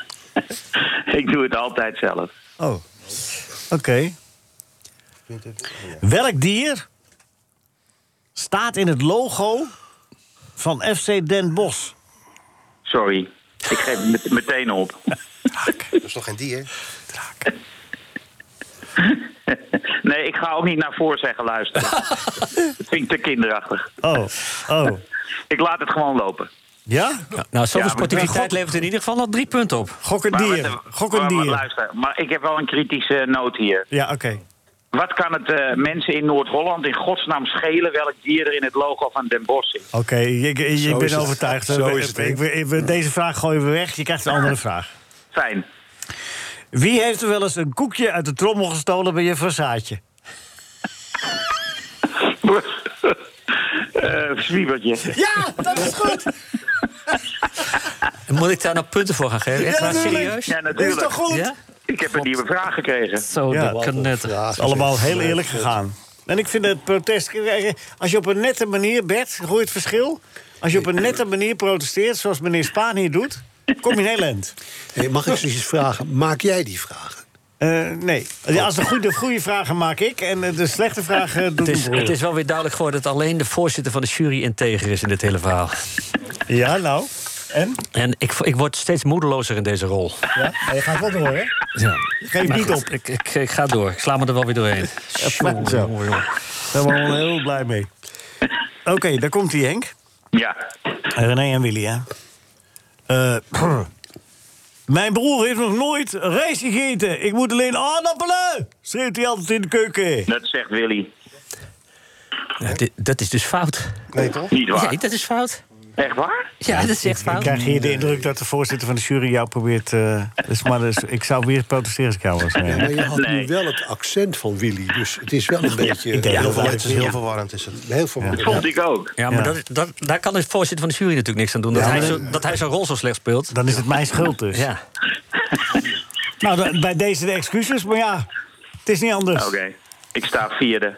Ik doe het altijd zelf. Oh, oké. Welk dier staat in het logo van FC Den Bosch? Sorry. Ik geef het met- meteen op. Dat is toch geen dier? Nee, ik ga ook niet naar voor zeggen luisteren. Dat vind ik te kinderachtig. Oh, oh. Ik laat het gewoon lopen. Ja? nou, zoveel Ja, maar- sportiviteit levert in ieder geval nog drie punten op. Gok een Maar, wat- maar- maar luister, maar ik heb wel een kritische noot hier. Ja, oké. Wat kan het eh, mensen in Noord-Holland in godsnaam schelen welk dier er in het logo van Den Bosch zit? Oké, ik, ik- Zo ik is ben het. overtuigd. Zo We- is het, ik- ik- ik- we- deze vraag gooien we weg. Je krijgt een andere vraag. Fijn. Wie heeft er wel eens een koekje uit de trommel gestolen bij je façaatje? Eh zwiebertje. Ja, dat is goed. Moet ik daar nou punten voor gaan geven? Echt waar, serieus? Ja, natuurlijk. Ja? Ik heb een nieuwe vraag gekregen. Zo, Ja, dat kan net. Het is allemaal heel eerlijk gegaan. En ik vind het protest... Als je op een nette manier, Bert, hoor je het verschil? Als je op een nette manier protesteert, zoals meneer Spaan hier doet... kom je in heel eind. Hey, mag ik ze iets vragen? Maak jij die vragen? Eh, nee. Ja, als de goede, goede vragen maak ik en eh, de slechte vragen doet Het is, mijn broer. het is wel weer duidelijk geworden dat alleen de voorzitter van de jury integer is in dit hele verhaal. Ja, nou. En? En ik, ik word steeds moedelozer in deze rol. Ja, maar je gaat wel door, hè? Ja. Geef Maar niet goed, op. Ik, ik, ik ga door. Ik sla me er wel weer doorheen. nou, Zo. Jongen, jongen, jongen. Daar ben ik wel eh, heel blij mee. Oké, daar komt hij, Henk. Ja. René en Willy, hè? Eh, Mijn broer heeft nog nooit rijst gegeten. Ik moet alleen aardappelen, schreeuwt hij altijd in de keuken. Dat zegt Willy. Ja, dit- dat is dus fout. Nee, toch? Niet waar. Nee, dat is fout. Echt waar? Ja, dat is echt Ik fout. krijg hier de indruk dat de voorzitter van de jury jou probeert... eh, dus maar dus, ik zou weer protesteren als ik jou was. Ja, maar je had nu wel het accent van Willy, dus het is wel een beetje... ik denk heel verwarrend. verwarrend, ja. is het. Heel verwarrend. ik ook. Ja, maar Ja. Dat, dat, daar kan de voorzitter van de jury natuurlijk niks aan doen. Dat, Ja, hij, maar zo, dat hij zijn rol zo slecht speelt. Dan is het mijn schuld dus. Ja. Nou, dan- bij deze de excuses, maar ja, het is niet anders. Oké, ik sta vierde.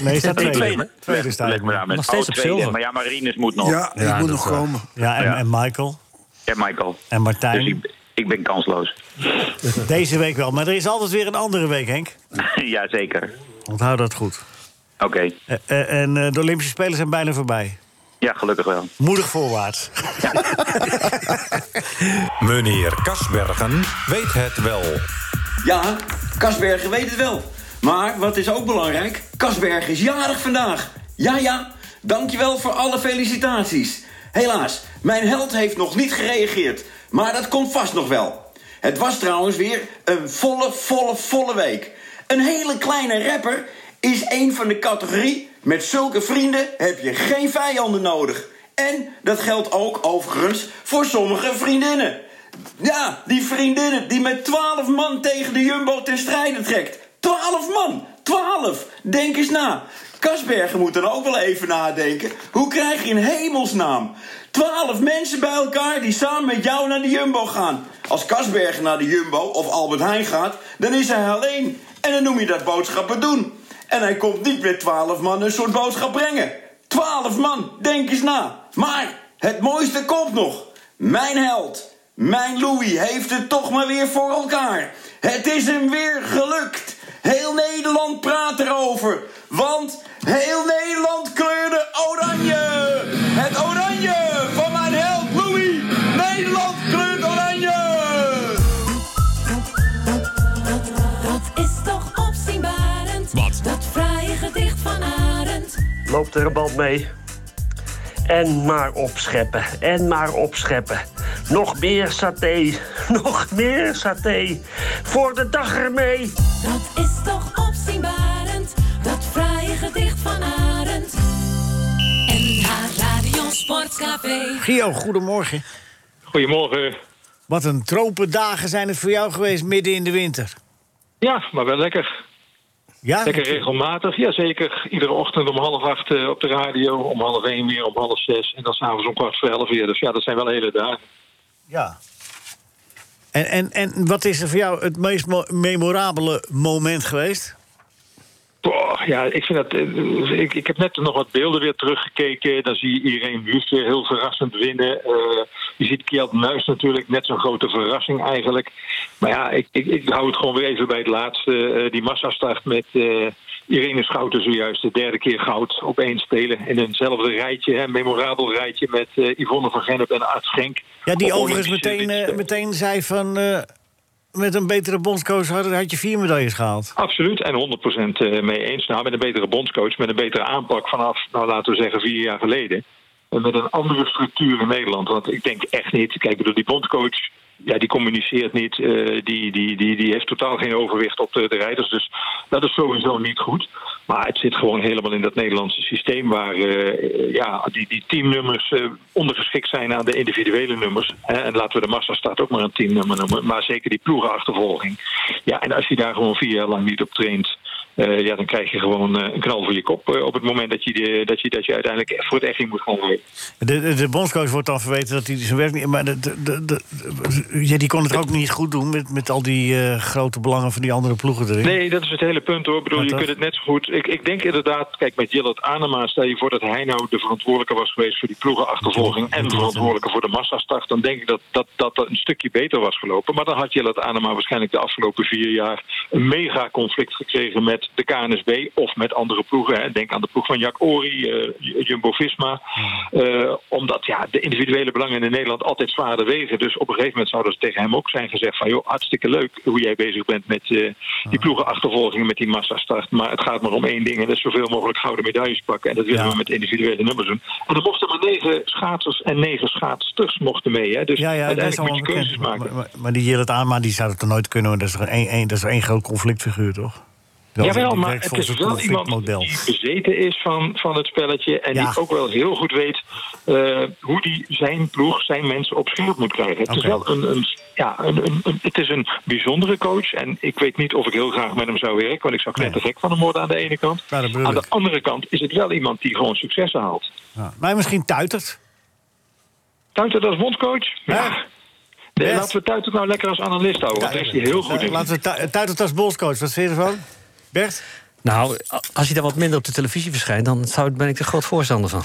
Nee, staat Ik tweede. leg- Tweede staat leg me daar met- Nog steeds oh, op tweede. zilver. Maar ja, Marinus moet nog. Ja, die Ja, moet dat nog is waar. komen. Ja, en- en Michael. En Michael. En Martijn. Dus ik, ik ben kansloos. Deze week wel, maar er is altijd weer een andere week, Henk. Jazeker. Onthoud dat goed. Oké. Eh, eh, en eh, de Olympische Spelen zijn bijna voorbij. Ja, gelukkig wel. Moedig voorwaarts. Meneer Kasbergen weet het wel. Ja, Kasbergen weet het wel. Maar wat is ook belangrijk, Kasbergen is jarig vandaag. Ja, ja, dankjewel voor alle felicitaties. Helaas, mijn held heeft nog niet gereageerd. Maar dat komt vast nog wel. Het was trouwens weer een volle, volle, volle week. Een hele kleine rapper is een van de categorie... met zulke vrienden heb je geen vijanden nodig. En dat geldt ook overigens voor sommige vriendinnen. Ja, die vriendinnen die met 12 man tegen de Jumbo ten strijde trekt. 12 man! 12! Denk eens na. Kasbergen moet dan ook wel even nadenken. Hoe krijg je in hemelsnaam 12 mensen bij elkaar die samen met jou naar de Jumbo gaan? Als Kasbergen naar de Jumbo of Albert Heijn gaat, dan is hij alleen. En dan noem je dat boodschappen doen. En hij komt niet met 12 man een soort boodschap brengen. 12 man, denk eens na. Maar het mooiste komt nog. Mijn held, mijn Louis heeft het toch maar weer voor elkaar. Het is hem weer gelukt. Heel Nederland praat erover. Want heel Nederland kleurde oranje. Het oranje van mijn held Louis. Nederland kleurt oranje. Dat is toch opzienbarend. Wat? Dat fraaie gedicht van Arend. loopt er een band mee. En maar opscheppen, en maar opscheppen. Nog meer saté, nog meer saté. Voor de dag ermee. Dat is toch opzienbarend. Dat fraaie gedicht van Arend. NH Radio Sportcafé. Gio, goedemorgen. Goedemorgen. Wat een tropendagen zijn het voor jou geweest midden in de winter. Ja, maar wel lekker. Ja, lekker regelmatig, jazeker. Iedere ochtend om half acht eh, op de radio, om half één weer, om half zes... en dan s'avonds om kwart voor elf weer. Dus ja, dat zijn wel hele dagen. Ja. En, en, en wat is er voor jou het meest mo- memorabele moment geweest? Boah, ja, ik vind dat. eh, Ik, ik heb net nog wat beelden weer teruggekeken. Dan zie je Irene Wust weer heel verrassend winnen. Eh, je ziet Kjeld Nuis natuurlijk, net zo'n grote verrassing eigenlijk. Maar ja, ik, ik, ik hou het gewoon weer even bij het laatste. Eh, die massastart met eh, Irene Schouten zojuist. De derde keer goud op één spelen. In eenzelfde rijtje, hè, memorabel rijtje met eh, Yvonne van Gennep en Aad Schenk. Ja, die Op overigens Olympische meteen, eh, meteen zei van... eh, met een betere bondscoach had, had je vier medailles gehaald. Absoluut, en 100% eh, mee eens. Nou, met een betere bondscoach, met een betere aanpak vanaf, nou, laten we zeggen, vier jaar geleden. En met een andere structuur in Nederland. Want ik denk echt niet, kijk, ik bedoel, die bondscoach, ja, die communiceert niet. eh, die, die, die, die heeft totaal geen overwicht op de, de rijders. Dus dat is sowieso niet goed. Maar het zit gewoon helemaal in dat Nederlandse systeem... waar eh, ja, die, die teamnummers eh, ondergeschikt zijn aan de individuele nummers. Hè, en laten we de massastart ook maar een teamnummer noemen. Maar zeker die ploegenachtervolging. Ja, en als je daar gewoon vier jaar lang niet op traint... eh, ja, dan krijg je gewoon eh, een knal voor je kop... eh, op het moment dat je, de, dat, je, dat je uiteindelijk voor het echt moet gaan werken. De, de, de bondscoach wordt dan verweten dat hij zijn werk niet... Maar de, de, de, de- ja, die kon het ook niet goed doen met, met al die eh, grote belangen van die andere ploegen erin. Nee, dat is het hele punt hoor. Ik bedoel, je kunt het net zo goed. Ik, ik denk inderdaad, kijk, met Jillet Anema, stel je voor dat hij nou de verantwoordelijke was geweest voor die ploegenachtervolging en verantwoordelijke voor de massastart, dan denk ik dat dat, dat dat een stukje beter was gelopen. Maar dan had Jillet Anema waarschijnlijk de afgelopen vier jaar een mega conflict gekregen met de KNSB of met andere ploegen. Hè. Denk aan de ploeg van Jack Ori, eh, Jumbo Visma. Eh, omdat ja, de individuele belangen in Nederland altijd zwaarder wegen. Dus op een gegeven moment zouden ze tegen hem ook zijn gezegd van... joh, hartstikke leuk hoe jij bezig bent met eh, die ploegenachtervolgingen met die massastart. Maar het gaat maar om één ding en dat is zoveel mogelijk gouden medailles pakken. En dat willen we met individuele nummers doen. En er mochten maar negen schaatsers en negen schaatsters mochten mee. Hè. Dus Ja, ja, dat is uiteindelijk moet allemaal je keuzes bekend. maken. Maar, maar die Jillet Anema die zou het toch nooit kunnen... want Dat is, toch één, één, dat is één groot conflictfiguur, toch? Dat Jawel, die maar werkt het volgens is wel iemand conflictmodel. die bezeten is van, van het spelletje. En Ja. die ook wel heel goed weet eh, hoe die zijn ploeg, zijn mensen op scherp moet krijgen. Het is Oké. wel een, een, ja, een, een- een- het is een bijzondere coach. En ik weet niet of ik heel graag met hem zou werken. Want ik zou net te gek van hem worden aan de ene kant. bedoel aan de ik. andere kant is het wel iemand die gewoon successen haalt. Ja, Maar misschien tuitert. Tuitert als bondcoach? Ja. Nee, Best. laten we Tuitert nou lekker als analist houden. Want daar is hij heel goed in. Laten we tu- tuitert als bolscoach. Wat vind je ervan? Bert? Nou, a- als hij dan wat minder op de televisie verschijnt, dan zou, ben ik er groot voorstander van.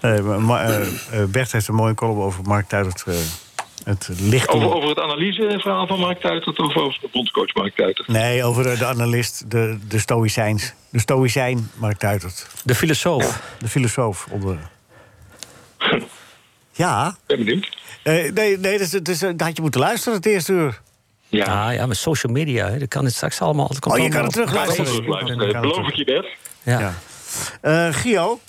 Nee, maar, maar, eh, eh, Bert heeft een mooie column over Mark Tuitert. eh, het licht. Over, over het analyseverhaal van Mark Tuitert of over de bondscoach Mark Tuitert? Nee, over de, de analist, de, de stoïcijns. De stoïcijn Mark Tuitert. De filosoof. De filosoof onder... ja. Ben benieuwd. Eh, nee, nee dus, dus, eh, dat had je moeten luisteren het eerste uur. Ja, ah, ja met social media, hè, dan kan het straks allemaal. Het komt Oh, je kan allemaal het op- terugluisteren. Ja, Luister, beloof ik je, Bert. Ja. Eh, Gio,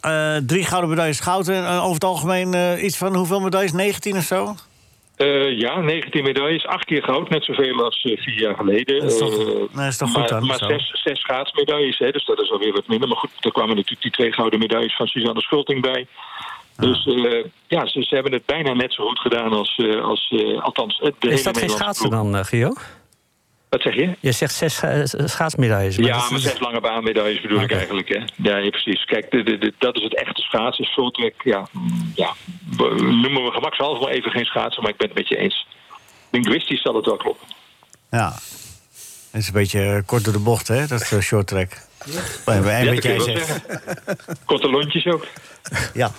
eh, drie gouden medailles goud. En eh, over het algemeen eh, iets van hoeveel medailles? 19 of zo? Eh, ja, 19 medailles, 8 keer goud, net zoveel als eh, vier jaar geleden. Dat is toch- Eh, nou, is toch maar, goed dan, Maar zo. zes, zes schaatsmedailles, hè, dus dat is alweer wat minder. Maar goed, er kwamen natuurlijk die twee gouden medailles van Suzanne Schulting bij. Dus eh, ja, ze, ze hebben het bijna net zo goed gedaan als, eh, als eh, althans, het de Is hele dat geen Nederlandse schaatsen ploeg. dan, eh, Gio? Wat zeg je? Je zegt zes eh, schaatsmedailles. maar dat Ja, is- dus- maar zes lange baanmedailles bedoel ik eigenlijk. Hè? Ja, ja, precies. Kijk, de, de, de- dat is het echte schaatsen. Schultrek, ja, mm, ja. we- noemen we gemakshalve maar even geen schaatsen, maar ik ben het met je eens. Linguistisch zal het wel kloppen. Ja. Dat is een beetje eh, kort door de bocht, hè? Dat is eh, short track. Ja. Ja, Bij dat wat kun je jij wel zegt. zeggen. Korte lontjes ook. Ja.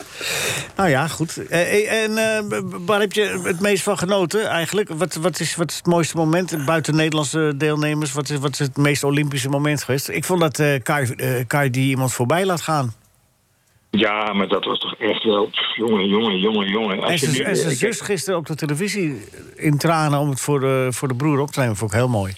Nou ja, goed. Eh, eh, en eh, b- waar heb je het meest van genoten eigenlijk? Wat, wat, is, wat is het mooiste moment buiten Nederlandse deelnemers? Wat is, wat is het meest Olympische moment geweest? Ik vond dat eh Kai, eh, Kai die iemand voorbij laat gaan. Ja, maar dat was toch echt wel... pff, jongen, jongen, jongen, jongen. En Als je zijn nu- en zijn kijk, zus gisteren op de televisie in tranen om het voor de, voor de broer op te nemen. Vond ik heel mooi.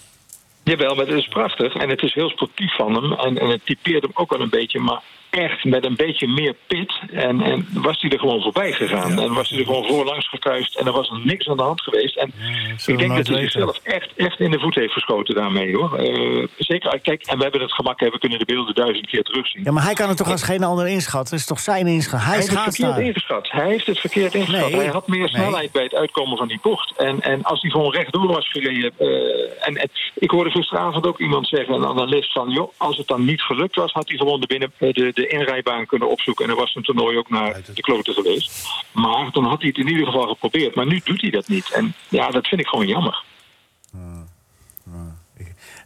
Jawel, maar dat is prachtig. En het is heel sportief van hem. En, en het typeert hem ook wel een beetje. Maar echt met een beetje meer pit. En, en was hij er gewoon voorbij gegaan. En was hij er gewoon voorlangs gekruist. En er was er niks aan de hand geweest. En zullen ik we denk dat nooit hij weten. zichzelf echt, echt in de voet heeft geschoten daarmee. hoor. Eh, zeker, kijk, en we hebben het gemak. Hè, we kunnen de beelden duizend keer terugzien. Ja, maar hij kan het toch als geen ander inschatten? Het is toch zijn inschat? Hij, Hij is heeft het schaats verkeerd daar. ingeschat. Hij heeft het verkeerd ingeschat. Nee. Hij had meer snelheid bij het uitkomen van die bocht. En, en als hij gewoon rechtdoor was gereden... eh, en, en ik hoorde gisteravond ook iemand zeggen, een analist... van joh, als het dan niet gelukt was... had hij gewoon de, binnen, eh, de, de inrijbaan kunnen opzoeken. En dan was zijn toernooi ook naar de kloten geweest. Maar dan had hij het in ieder geval geprobeerd. Maar nu doet hij dat niet. En ja, dat vind ik gewoon jammer. Ah,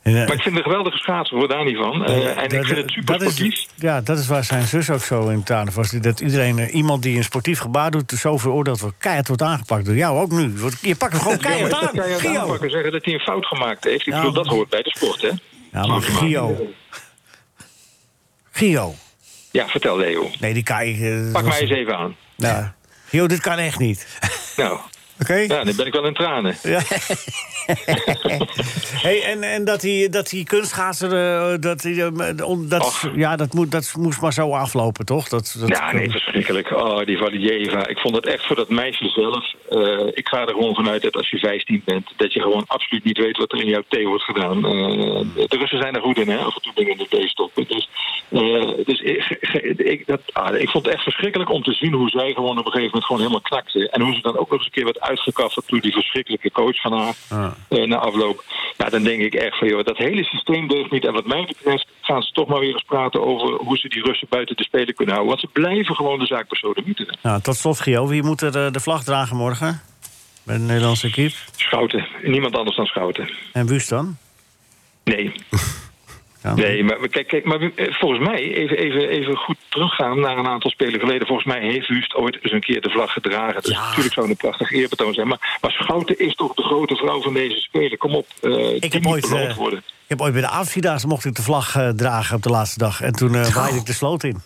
Maar ik vind het een geweldige schaatsen, hoor daar niet van. Eh, en ik vind het super dat is, ja, dat is waar zijn zus ook zo in tranen was. Dat iedereen, eh, iemand die een sportief gebaar doet, zo veroordeeld wordt, keihard wordt aangepakt. Door jou ook nu. Wordt- Je pakt hem gewoon keihard Ja, maar aan. dat kan je ook Gio. aanpakken, zeggen dat hij een fout gemaakt heeft. Ik bedoel, dat hoort bij de sport, hè? Ja, maar Gio. Gio. Ja, vertel Leo. Nee, die Kai. eh, Pak was- mij eens even aan. Nou, Gio, dit kan echt niet. Nou. Ja, dan ben ik wel in tranen. Ja. hey, en, en dat die, dat die kunstschaatser, eh, dat, die, eh, on- dat, ja, dat, moet, dat moest maar zo aflopen, toch? Dat, dat, ja, nee, verschrikkelijk. Oh, die Valideva. Ik vond het echt voor dat meisje zelf. Eh, ik ga er gewoon vanuit dat als je 15 bent, dat je gewoon absoluut niet weet wat er in jouw thee wordt gedaan. Eh, de Russen zijn er goed in, hè, af en toe dingen in de thee stoppen. Dus, eh, dus ik, ge- ik, dat, ah, ik vond het echt verschrikkelijk om te zien hoe zij gewoon op een gegeven moment gewoon helemaal knakte. En hoe ze dan ook nog eens een keer werd uitgekafferd door die verschrikkelijke coach van haar. eh, na afloop. Ja, dan denk ik echt van, joh, dat hele systeem deugt niet. En wat mij betreft gaan ze toch maar weer eens praten over hoe ze die Russen buiten de spelen kunnen houden. Want ze blijven gewoon de zaak besodemieten. Nou, tot slot, Gio. Wie moet er eh, de vlag dragen morgen? Bij de Nederlandse equipe. Schouten. Niemand anders dan Schouten. En Wust dan? Nee. Nee, maar maar kijk, kijk maar eh, volgens mij, even, even, even goed teruggaan naar een aantal spelen geleden. Volgens mij heeft Wust ooit eens een keer de vlag gedragen. Dus natuurlijk zou het een prachtig eerbetoon zijn. Maar, maar Schouten is toch de grote vrouw van deze spelen. Kom op, eh, die heb moet ooit, beloond eh, worden. Ik heb ooit bij de Avondvierdaagse mocht ik de vlag eh, dragen op de laatste dag. En toen eh waaide ik de sloot in.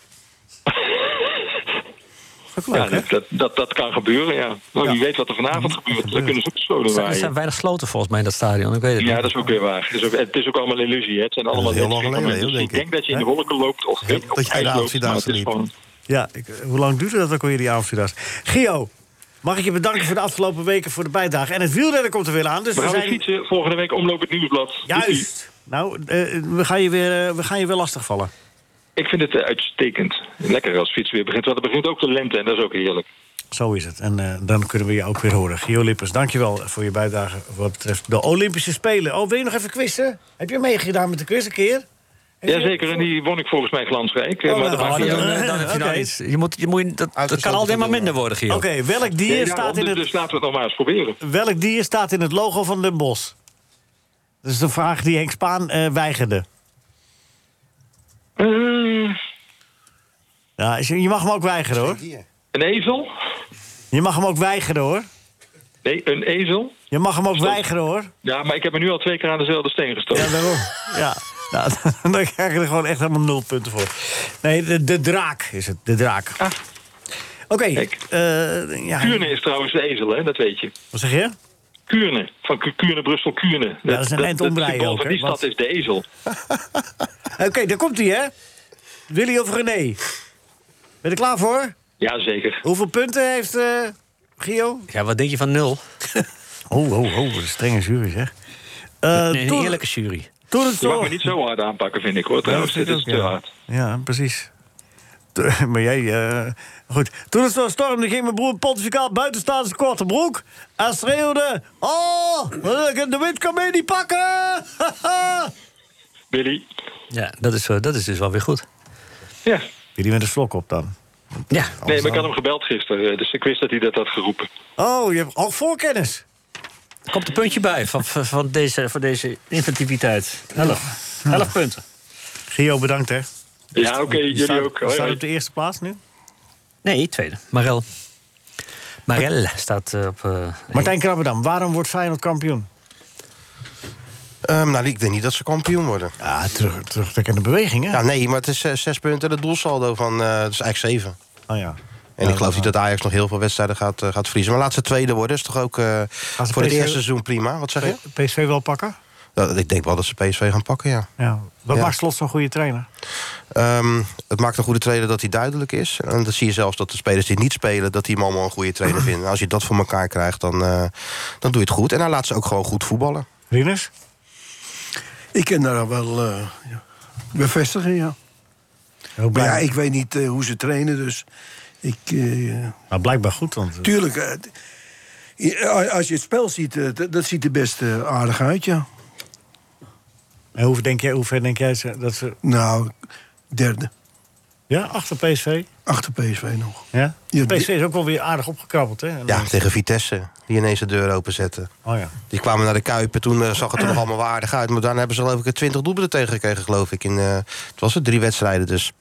ja, dat, dat, dat, dat kan gebeuren, ja. Maar wie weet wat er vanavond gebeurt. Dan kunnen ze ook Er gestolen zijn- er zijn waaien. weinig sloten volgens mij in dat stadion. Ik weet het Ja, niet. dat is ook weer waar. Het is ook, het is ook allemaal illusie, hè. Het zijn allemaal heel lang illusie. geleden, Dus heel, ik denk denk dat je in de wolken loopt of weet dat je bij de Avondvierdaagse liep. Ja, ik, eh, hoe lang duurde dat ook alweer, die Avondvierdaagse? Gio, Mag ik je bedanken voor de afgelopen weken voor de bijdrage. En het wielrennen komt er weer aan. Dus we we gaan weer zijn... fietsen. Volgende week omloop het nieuwsblad. Dus Juist. Nou, eh, we, gaan je weer, eh, we gaan je weer lastigvallen. Ik vind het eh, uitstekend. Lekker als fiets weer begint. Want er begint ook de lente en dat is ook heerlijk. Zo is het. En eh, dan kunnen we je ook weer horen. Gio Lippers, dankjewel voor je bijdrage wat betreft de Olympische Spelen. Oh, wil je nog even quizzen? Heb je meegedaan met de quiz een keer? Jazeker, en die won ik volgens mij glansrijk. eh, Oh, maar nou, dat maakt dan- niet uit. dan- dan heb je nou iets. Je moet, je moet, dat, dat kan altijd maar minder worden, Gio. Oké, welk dier Ja, staat dus- in het- Dus laten we het nog maar eens proberen. Welk dier staat in het logo van Den Bos? Dat is de vraag die Henk Spaan eh, weigerde. Mm. Ja, is- je mag hem ook weigeren, hoor. Een ezel? Je mag hem ook weigeren, hoor. Nee, een ezel? Je mag hem ook Stop. weigeren, hoor. Ja, maar ik heb me nu al twee keer aan dezelfde steen gestoken. Ja, daarom. Ja, nou, dan krijg je er gewoon echt helemaal nul punten voor. Nee, de, de draak is het, de draak. Ah. Oké, eh, ja. Kuurne is trouwens de ezel, hè? dat weet je. Wat zeg je? Kuurne, van Ku- Kuurne, Brussel, Kuurne. dat is een eind omdraaien symbool ook, van hè, die stad want- is de ezel. Oké, daar komt hij, hè? Willy of René? Ben je er klaar voor? Jazeker. Hoeveel punten heeft eh Gio? Ja, wat denk je van nul? oh, oh, oh, wat een strenge jury, zeg. nee, een Eh, toen- eerlijke jury. Toen het Je mag zo... me niet zo hard aanpakken, vind ik hoor. Trouwens, vind dit ik is ook, te ja. hard. Ja, precies. T- Maar jij, eh, goed. Toen het zo stormde, ging mijn broer pontificaal buiten staan in zijn korte broek. En schreeuwde: Oh, de wind kan mij niet pakken! Willy. Ja, dat is, eh, dat is dus wel weer goed. Ja. Jullie met een slok op dan? Ja. Nee, maar ik had hem gebeld gisteren, eh, dus ik wist dat hij dat had geroepen. Oh, je hebt al voorkennis. Er komt een puntje bij van, van, van deze, van deze inventiviteit. Elf. Elf punten. Gio, bedankt hè. Ja, oké, Je jullie staat- ook. je Hoi, staat hoi. op de eerste plaats nu? Nee, tweede. Marel. Marel staat eh, op... eh, Martijn Krabbedam, waarom wordt Feyenoord kampioen? Ehm, nou, ik denk niet dat ze kampioen worden. Ja, terug, terugtrekken de beweging, hè? Ja, nee, maar het is eh, zes punten het doelsaldo van... eh het is eigenlijk zeven. Oh ja. En ik geloof niet dat Ajax nog heel veel wedstrijden gaat, eh, gaat verliezen. Maar laat ze tweede worden, is toch ook eh, voor het PSV eerste seizoen prima? Wat zeg je? PSV wel pakken? Ja, ik denk wel dat ze PSV gaan pakken, ja. Ja. Wat Ja. maakt Slot zo'n goede trainer? Ehm, het maakt een goede trainer dat hij duidelijk is. En dan zie je zelfs dat de spelers die niet spelen... dat die hem allemaal een goede trainer vinden. En als je dat voor elkaar krijgt, dan, eh, dan doe je het goed. En hij laat ze ook gewoon goed voetballen. Rinus? Ik kan daar wel eh, ja, bevestigen, ja. Maar ja, ik weet niet eh, hoe ze trainen, dus ik... eh, Nou, blijkbaar goed, want... Tuurlijk, eh, t- i- a- als je het spel ziet, eh, d- dat ziet er best eh, aardig uit, ja. En hoe, denk jij, hoe ver denk jij ze- dat ze... Nou, derde. Ja, achter PSV? Achter PSV nog. Ja? Ja, PSV is ook wel weer aardig opgekrabbeld, hè? En- Ja, tegen Vitesse, die ineens de deur openzetten. Oh ja. Die kwamen naar de Kuip en toen eh, zag het er nog allemaal wel aardig uit. Maar daarna hebben ze geloof ik 20 doelpunten tegengekregen, geloof ik. In, eh, het was het, drie wedstrijden. Dus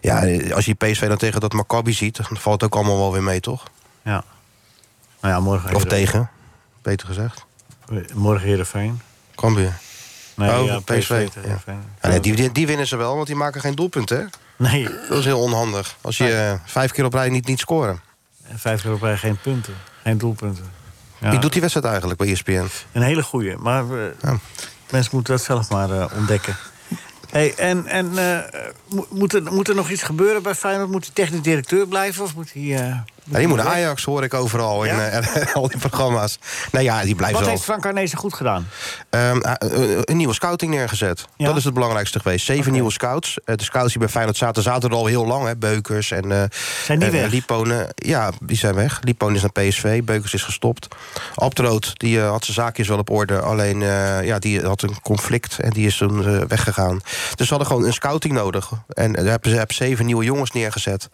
ja, eh, als je PSV dan tegen dat Maccabi ziet... dan valt het ook allemaal wel weer mee, toch? Ja. Nou ja, morgen... Of tegen, beter gezegd. Morgen Heerenveen. Cambuur. Nee, Oh, ja, PSV. PSV. ja. Ja, nee, die, die, die winnen ze wel, want die maken geen doelpunt, hè? Nee. Dat is heel onhandig. Als je eh, vijf keer op rij niet, niet scoren. En vijf keer op rij geen punten. Geen doelpunten. Ja. Wie doet die wedstrijd eigenlijk bij E ESPN? Een hele goeie. Maar eh, mensen moeten dat zelf maar eh, ontdekken. Hey, en en eh, mo- moet, er, moet er nog iets gebeuren bij Feyenoord? Moet die technisch directeur blijven? Of moet hij... eh, Nou, die moet naar weg? Ajax, hoor ik overal in eh, al die programma's. Nou ja, die blijft Wat wel. heeft Frank Arnezen goed gedaan? Ehm, eh, eh, een nieuwe scouting neergezet. Dat is het belangrijkste geweest. Zeven nieuwe scouts. Eh, de scouts die bij Feyenoord zaten, zaten er al heel lang. Hè. Beukers en, eh Zijn die en, eh, weg? Liponen. Ja, die zijn weg. Liponen is naar PSV. Beukers is gestopt. Abtroot, die eh, had zijn zaakjes wel op orde. Alleen, eh, ja, die had een conflict en die is toen eh, weggegaan. Dus ze hadden gewoon een scouting nodig. En eh, daar hebben ze hebben zeven nieuwe jongens neergezet.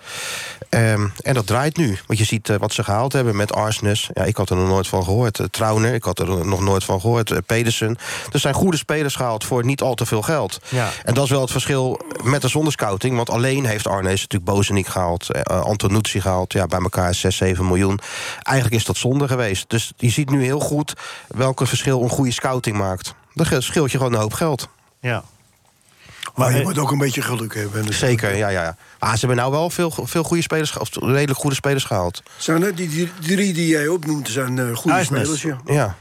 Ehm, en dat draait nu. Want je ziet eh, wat ze gehaald hebben met Arsenis. Ja, ik had er nog nooit van gehoord. Eh, Trauner, ik had er nog nooit van gehoord. Eh, Pedersen. Er zijn goede spelers gehaald voor niet al te veel geld. Ja. En dat is wel het verschil met de zonderscouting. Want alleen heeft Arnees natuurlijk Bozenik gehaald. eh, Antonucci gehaald. Ja, bij elkaar 6, 7 miljoen. Eigenlijk is dat zonde geweest. Dus je ziet nu heel goed welk verschil een goede scouting maakt. Dat ge- scheelt je gewoon een hoop geld. Ja. Maar, je moet ook een beetje geluk hebben. natuurlijk. Zeker, ja, ja. ja. Maar ze hebben nou wel veel, veel goede spelers, ge- of redelijk goede spelers gehaald. Zijn er die, die drie die jij opnoemt, zijn eh, goede Huisnes. spelers, ja. Ja.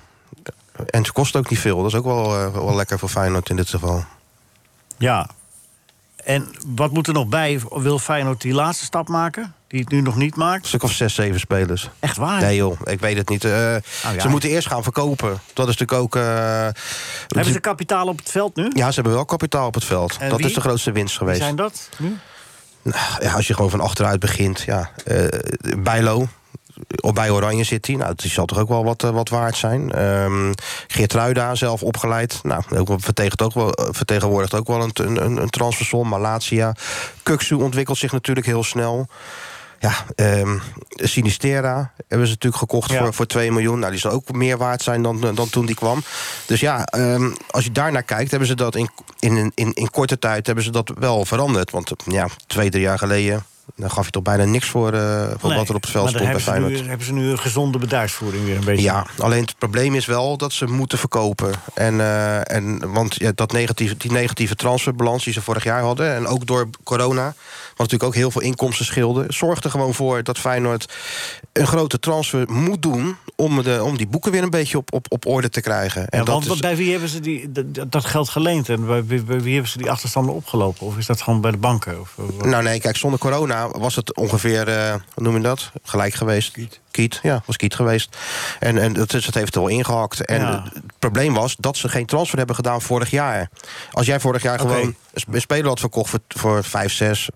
En ze kost ook niet veel. Dat is ook wel, eh, wel lekker voor Feyenoord in dit geval. Ja. En wat moet er nog bij? Wil Feyenoord die laatste stap maken? Die het nu nog niet maakt? Een stuk of zes, zeven spelers. Echt waar? Oh, Nee joh, ik weet het niet. Eh, ja. Ze moeten eerst gaan verkopen. Dat is natuurlijk ook... eh, Hebben ze kapitaal op het veld nu? Ja, ze hebben wel kapitaal op het veld. En dat wie? is de grootste winst Wie geweest. zijn dat nu? Nou, ja, als je gewoon van achteruit begint, ja. eh, Bijlo, op bij Oranje zit hij. Nou, die zal toch ook wel wat, eh, wat waard zijn. Ehm Geertruida zelf opgeleid. Nou, ook wel- vertegenwoordigt ook wel, eh, vertegenwoordigt ook wel een, een, een- een transfersom. Malatia. Kuksu ontwikkelt zich natuurlijk heel snel. Ja, ehm, Sinistera hebben ze natuurlijk gekocht voor, voor 2 miljoen. Nou, die zal ook meer waard zijn dan, eh, dan toen die kwam. Dus ja, ehm, als je daarnaar kijkt, hebben ze dat in, in, in, in korte tijd hebben ze dat wel veranderd. Want eh, ja, twee, drie jaar geleden dan gaf je toch bijna niks voor, eh, voor Nee, wat er op het veld maar stond bij dan hebben Feyenoord. ze, nu, hebben ze nu een gezonde bedrijfsvoering weer een beetje. Ja, alleen het probleem is wel dat ze moeten verkopen. En, eh, en, want ja, dat negatieve, die negatieve transferbalans die ze vorig jaar hadden... en ook door corona, wat natuurlijk ook heel veel inkomsten scheelde... zorgt er gewoon voor dat Feyenoord een grote transfer moet doen... om, de, om die boeken weer een beetje op, op, op orde te krijgen. En Ja, dat want is, bij wie hebben ze die, dat- dat, dat geld geleend en bij, bij- bij wie hebben ze die achterstanden opgelopen? Of is dat gewoon bij de banken? Of, of- nou nee, kijk, zonder corona was het ongeveer, eh hoe noem je dat? Gelijk geweest. Kiet. ja, was kiet geweest. En, en dat, is, dat heeft er wel ingehakt. En Ja. het probleem was dat ze geen transfer hebben gedaan vorig jaar. Als jij vorig jaar Oké. gewoon een sp- een speler had verkocht voor, voor eh, 5, 6...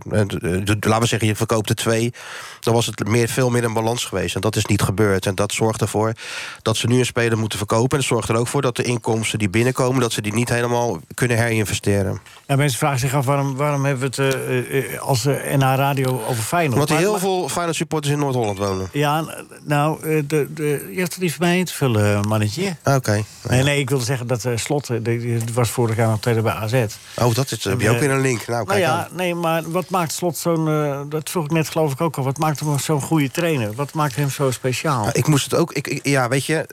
laten we zeggen, je verkoopt er twee... dan was het meer, veel meer een balans geweest. En dat is niet gebeurd. En dat zorgt ervoor dat ze nu een speler moeten verkopen. En dat zorgt er ook voor dat de inkomsten die binnenkomen... dat ze die niet helemaal kunnen herinvesteren. Ja, mensen vragen zich af waarom, waarom hebben we het eh, eh, eh, als eh, NH Radio over Feyenoord. Omdat er Maar- heel maar- veel Feyenoord supporters in Noord-Holland wonen. Ja, nou, eh, de, de, je hebt het niet voor mij in te vullen, eh, mannetje. Ah, Oké. Nee, nee, ik wilde zeggen dat eh, Slot eh, die- die was vorig jaar nog tweede bij AZ. Oh, dat is, heb je En, ook weer eh, een link. Nou, Nou kijk ja, nee, maar wat maakt Slot zo'n... eh, dat vroeg ik net geloof ik ook al. Wat maakt hem zo'n goede trainer? Wat maakt hem zo speciaal? Ik moest Ah, het ook. Ik, ik- ja, weet je, eh,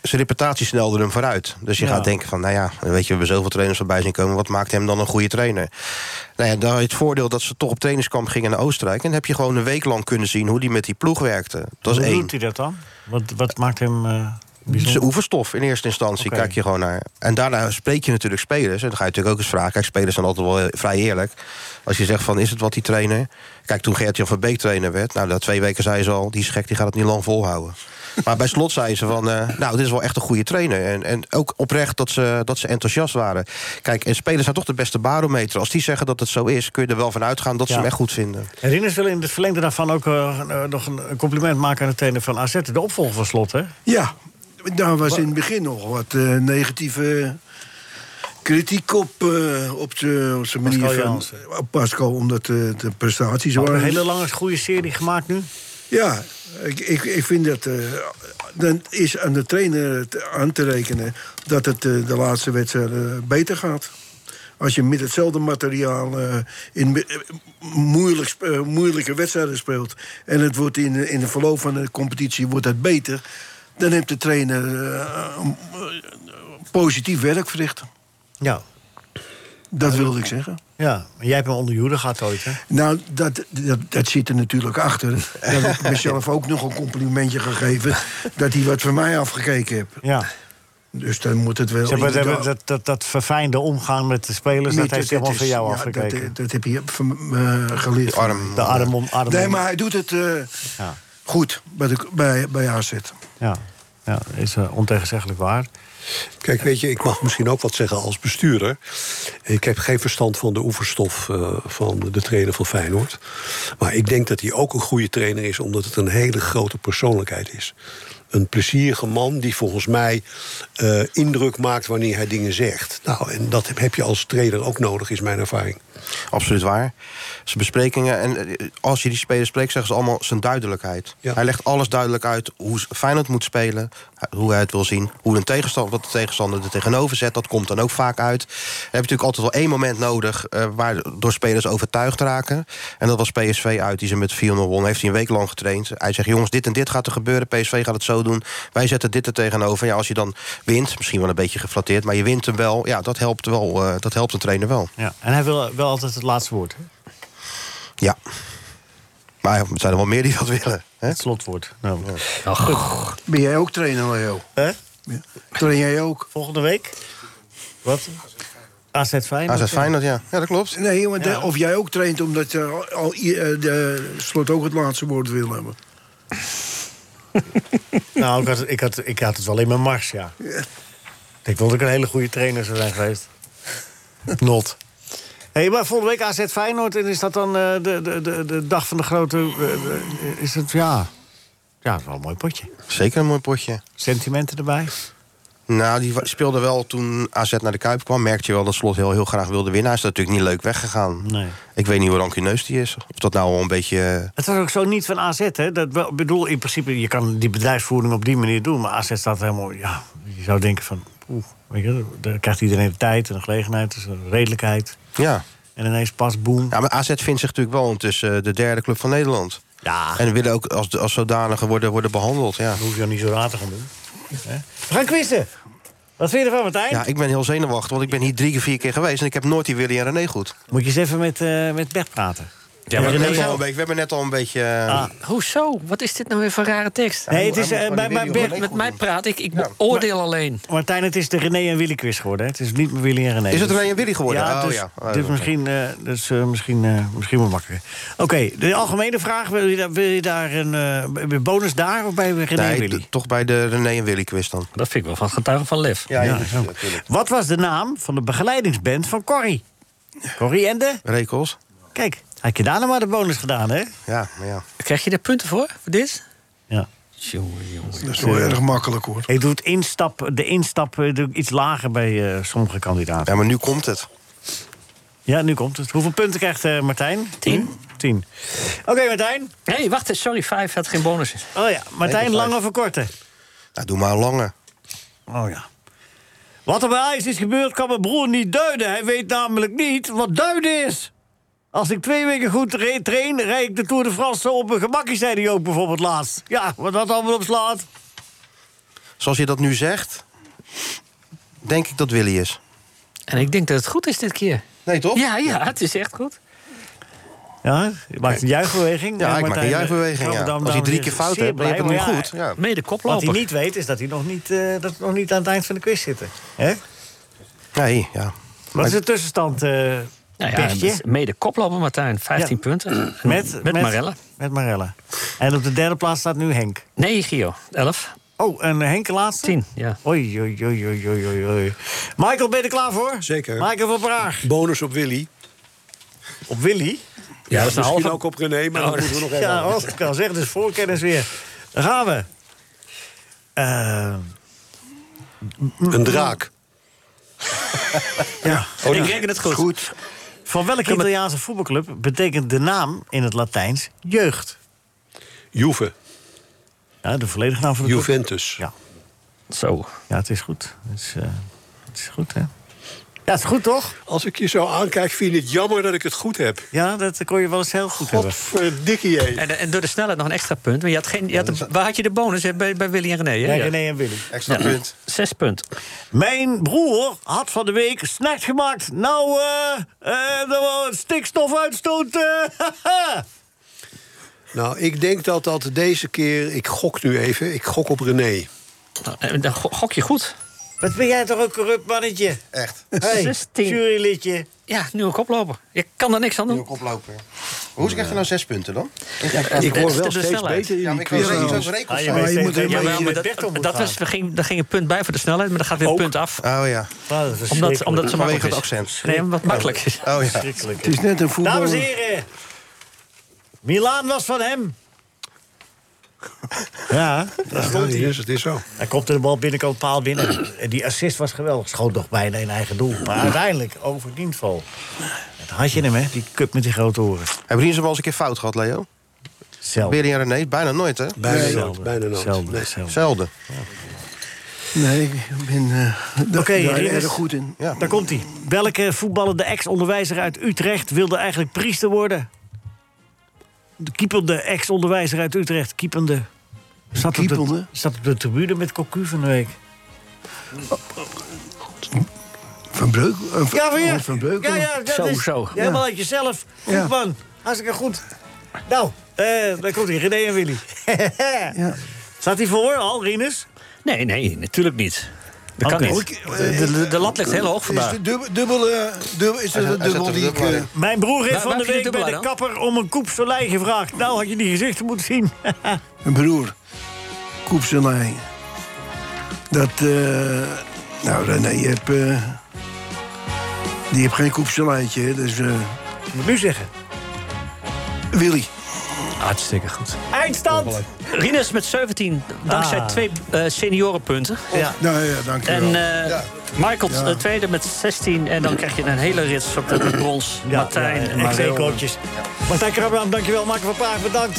zijn reputatie snelde hem vooruit. Dus je Ja. gaat denken van, nou ja, weet je, we hebben zoveel trainers voorbij zien komen. Wat maakt hem dan een goede trainer? Nou ja, dan had je het voordeel dat ze toch op trainingskamp gingen naar Oostenrijk. En dan heb je gewoon een week lang kunnen zien hoe die met die ploeg werkte. Dat is Hoe één. doet hij dat dan? Wat, wat maakt hem... eh, Zijn oefenstof in eerste instantie, Oké. kijk je gewoon naar. En daarna spreek je natuurlijk spelers. En dan ga je natuurlijk ook eens vragen. Kijk, spelers zijn altijd wel heel- vrij eerlijk. Als je zegt van, is het wat die trainer? Kijk, toen Gert-Jan van Beek trainer werd... nou, na twee weken zei ze al, die is gek, die gaat het niet lang volhouden. Maar bij slot zei ze van, eh, nou, dit is wel echt een goede trainer. En, en ook oprecht dat ze, dat ze enthousiast waren. Kijk, en spelers zijn toch de beste barometer. Als die zeggen dat het zo is, kun je er wel van uitgaan... dat ze Ja. hem echt goed vinden. Herinners willen in het verlengde daarvan ook eh, eh, nog een compliment maken aan de trainer van AZ. De opvolger van Slot, hè? Ja, daar was in het begin nog wat eh, negatieve kritiek op, eh, op de- op zijn manier Pascal van Jansen. op Pascal, omdat eh, de prestaties Ook waren. een hele lange goede serie gemaakt nu. Ja, ik, ik, ik vind dat. eh, dan is aan de trainer te- aan te rekenen dat het eh, de laatste wedstrijd eh, beter gaat. Als je met hetzelfde materiaal eh, in be- eh, moeilijk, sp- eh, moeilijke wedstrijden speelt. en het wordt in, de- in de verloop van de competitie wordt het beter. dan heeft de trainer eh, een- een positief werk verricht. Ja. Dat wilde ik zeggen. Ja, maar jij hebt hem onder je hoede gehad ooit, hè? Nou, dat, dat, dat zit er natuurlijk achter. Dat ik mezelf ook nog een complimentje gegeven... dat hij wat van mij afgekeken heeft. Ja. Dus dan moet het wel... Zeg maar, dat, inderdaad- dat, dat, dat verfijnde omgaan met de spelers, dat Niet, heeft hij dat helemaal van is- jou ja, afgekeken. Dat, dat heb je van me geleerd. De arm. De arm om- arm nee, om. maar hij doet het eh, Ja. goed bij, de, bij, bij AZ. Ja, ja is eh, ontegenzeggelijk waar. Kijk, weet je, ik mag misschien ook wat zeggen als bestuurder. Ik heb geen verstand van de oefenstof eh, van de trainer van Feyenoord. Maar ik denk dat hij ook een goede trainer is, omdat het een hele grote persoonlijkheid is. Een plezierige man die volgens mij eh, indruk maakt wanneer hij dingen zegt. Nou, en dat heb je als trainer ook nodig, is mijn ervaring. Absoluut waar. Zijn besprekingen. En eh, als je die spelers spreekt, zeggen ze allemaal zijn duidelijkheid. Hij legt alles duidelijk uit hoe s- Feyenoord moet spelen. eh, Hoe hij het wil zien. Hoe een tegenstander, wat de tegenstander er tegenover zet. Dat komt dan ook vaak uit. Dan heb je natuurlijk altijd wel één moment nodig... eh waardoor spelers overtuigd raken. En dat was PSV uit, die ze met 4-0 won. Heeft hij een week lang getraind. Hij zegt, jongens, dit en dit gaat er gebeuren. PSV gaat het zo doen. Wij zetten dit er tegenover. Ja, als je dan wint, misschien wel een beetje geflatteerd... maar je wint hem wel. Ja, dat helpt, wel, eh, dat helpt een trainer wel. Ja. En hij wil wel altijd het laatste woord. Hè? Ja. Maar er zijn er wel meer die dat willen. Het slotwoord. Nou, Ben jij ook trainer, Leo? Hè? Train jij ook? Volgende week? Wat? AZ Ah, Feyenoord. ja, dat klopt. Nee, want eh, of jij ook traint omdat je al, i- eh, de slot ook het laatste woord wil hebben. Nou, ik had, ik, had, ik had het wel in mijn mars, ja. Ik vond dat ik een hele goede trainer zou zijn geweest. Not. Hey, maar volgende week AZ Feyenoord, en is dat dan eh, de, de, de, de dag van de grote... eh, de- is het, ja... Ja, dat is wel een mooi potje. Zeker een mooi potje. Sentimenten erbij? Nou, die wa- speelde wel toen AZ naar de Kuip kwam. Merkte je wel dat Slot heel, heel graag wilde winnen. Hij is natuurlijk niet leuk weggegaan. Nee. Ik weet niet hoe rancuneus die is. Of dat nou al een beetje... eh, Het was ook zo niet van AZ, hè? Dat wel- ik bedoel, in principe, je kan die bedrijfsvoering op die manier doen... maar AZ staat helemaal... Ja, je zou denken van... Oeh, weet je, daar krijgt iedereen de tijd en de gelegenheid, dus de redelijkheid. Ja. En ineens pas boem. Ja, maar AZ vindt zich natuurlijk wel ondertussen eh, de derde club van Nederland. Ja. En willen ook als, als zodanige worden, worden behandeld. Ja. hoef je dan niet zo raar te gaan doen. We gaan quizzen. Wat vind je ervan, Martijn? Ja, ik ben heel zenuwachtig, want ik ben hier drie keer, vier keer geweest... en ik heb nooit die Willy en René goed. Moet je eens even met, eh met Bert praten. Ja, maar we, René hebben net al- al een beetje, we hebben net al een beetje... eh, Ah. Hoezo? Wat is dit nou weer voor rare tekst? Nee, het is, eh, bij- bij Bert- met mij praat ik, ik oordeel alleen. Martijn, het is de René en Willy quiz geworden. hè? Het is niet meer Willy en René. Is het Dus- René en Willy geworden? Ja, Oh, dus, ja. Oh, ja, dus oké. misschien, eh dus, eh, misschien, eh, misschien wat makkelijker. Oké, de algemene vraag. Wil je, daar- wil je daar een eh, bonus daar of bij René en nee, Willy? d- toch bij de René en Willy quiz dan. Dat vind ik wel van getuigen van lef. Ja, ja, zo. Wat was de naam van de begeleidingsband van Corrie? Corrie en de? Rekels. Kijk, had je daar nou maar de bonus gedaan, hè? Ja, maar ja. Krijg je daar punten voor? Voor dit? Ja. Jongen, jongen. Dat is wel erg makkelijk hoor. Ik doe het instap, de instap eh, doe ik iets lager bij eh, sommige kandidaten. Ja, maar nu komt het. Ja, nu komt het. Hoeveel punten krijgt eh, Martijn? Tien. Tien. Oké, Martijn. Hé, hey, wacht eens. Sorry, vijf had geen bonus. Oh ja, Martijn, Nee, lang of korte? Nou, doe maar een lange. Oh ja. Wat er bij IJs is gebeurd, kan mijn broer niet duiden. Hij weet namelijk niet wat duiden is. Als ik twee weken goed re- train, rijd ik de Tour de France zo op mijn gemakkie, zei hij ook bijvoorbeeld laatst. Ja, wat dat allemaal op slaat. Zoals je dat nu zegt, denk ik dat Willy is. En ik denk dat het goed is dit keer. Nee, toch? Ja, ja, het is echt goed. Ja, je maakt een juichbeweging. Ja, hè, ik maak Martijn? een juichbeweging, Nou, ja. dan- Als je dan drie is keer het fout zeer hebt, dan heb je blij, hem nu maar goed. Ja. Mede koploper. Wat hij niet weet, is dat hij nog niet, eh, dat we nog niet aan het eind van de quiz zitten. Hè? Nee, ja. Wat is de tussenstand, eh Nou ja, Bestje? dus mede koploper Martijn, 15 Ja. punten. Met, met, Marella. Met Marella. En op de derde plaats staat nu Henk. Nee, Gio, 11. Oh, en Henk de laatste? 10, ja. Oei, oei, oei, oei, oei, oei, oei. Michael, ben je er klaar voor? Zeker. Michael van Praag. Bonus op Willy. Op Willy? Ja, dat is een misschien halve- ook op René, maar dat moeten we nog even Ja, houden. oh, ik kan zeggen, dus voorkennis weer. Daar gaan we. Eh, Een draak. ja. Oh, Ik reken het goed. Van welke Italiaanse voetbalclub betekent de naam in het Latijns jeugd? Juve. Ja, de volledige naam van de club. Juventus. Ja. Zo. Ja, het is goed. Het is, eh, het is goed, hè? Ja, het is goed, toch? Als ik je zo aankijk, vind je het jammer dat ik het goed heb. Ja, dat kon je wel eens heel goed hebben. Godverdikkie, hé. En, en door de snelheid nog een extra punt. Maar je had geen, je had de- waar had je de bonus hè? bij, bij Willy en René? Hè? Ja, René en Willy. Extra Ja. punt. Zes punt. Mijn broer had van de week snack gemaakt. Nou, eh, eh, de stikstofuitstoot. eh, Nou, ik denk dat dat deze keer... Ik gok nu even. Ik gok op René. Nou, eh, Dan go- gok je goed. Wat ben jij toch een corrupt mannetje? Echt. Hey, 16. jurylidje. Ja, nu een koploper. Je kan er niks aan doen. Oplopen. Hoe krijg je nou zes punten dan? ik word wel de steeds snelheid. beter in Ja, die maar ik wil quiz. er iets over rekenen. Ah, je weet steeds er beter Ja, hoe maar- je maar met Bertel dat, moet dat was, er, ging, er ging een punt bij voor de snelheid, maar er gaat weer een punt af. Oh ja. Ah, dat is Omdat, omdat ze Vanwege makkelijk het is. accent. Nee, wat makkelijk is. Oh ja. verschrikkelijk. Het is net een Dames voetballer. en heren. Milaan was van hem. Ja, daar Ja, stond het hij. is- het is zo. Hij kopte de bal binnenkant paal binnen. En die assist was geweldig. Schoot nog bijna in eigen doel. Maar uiteindelijk overdienval. Dat had je hem, hè? Die cup met die grote oren. Hebben jullie ze wel eens een keer fout gehad, Leo? Zelf. Willy en René? Bijna nooit, hè? Bijna Nee. nooit. Bijna nooit. Zelden, Nee. zelden. Zelden. Nee, ik ben eh, da- Oké, daar Rinus. erg goed in. Ja. Daar komt hij. Welke voetballende ex-onderwijzer uit Utrecht wilde eigenlijk priester worden? De kiepende ex-onderwijzer uit Utrecht. Kiepende. Zat op, de, Kiepelde? zat op de tribune met Cocu van de week. Van Breuk? eh, van- Ja, van oh, Van je. Breuk? Ja, ja, dat Zo, is zo. helemaal uit jezelf. Goed, Ja. man. Hartstikke goed. Nou, eh, daar komt hij. René en Willy. Ja. Staat hij voor al, Rinus? Nee, nee, natuurlijk niet. Dat kan niet. De, de, de lat ligt heel hoog Is vandaag. de dubbel, dubbel, eh, dubbel, is Hij dat een zet- hij dubbel zet er die een ik... dubbel eh, in. Mijn broer heeft Waar- van waar de heb je de week bij de dubbelaar kapper om een koepselij gevraagd. Nou, had je die gezichten moeten zien. Mijn broer, Koepselijn. Dat, eh nou René, je hebt, eh, die heeft geen Koepselijntje. hè, Dus, Moet nu zeggen. Willy. Hartstikke goed. Eindstand! Rinus met 17, dankzij Ah. twee eh, seniorenpunten. Ja. Nou ja, dank je En wel. eh, Ja. Michael Ja. de tweede met 16. En dan krijg je een hele rits op de brons. Martijn ja, en echt Mario. twee klootjes. Martijn Krabbeam, dankjewel. Mark van Praag, bedankt.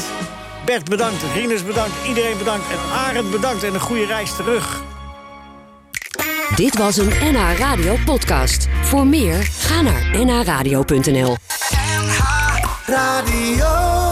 Bert, bedankt. Rinus, bedankt. Iedereen bedankt. En Arend, bedankt. En een goede reis terug. Dit was een NH Radio podcast. Voor meer, ga naar nhradio.nl. Radio.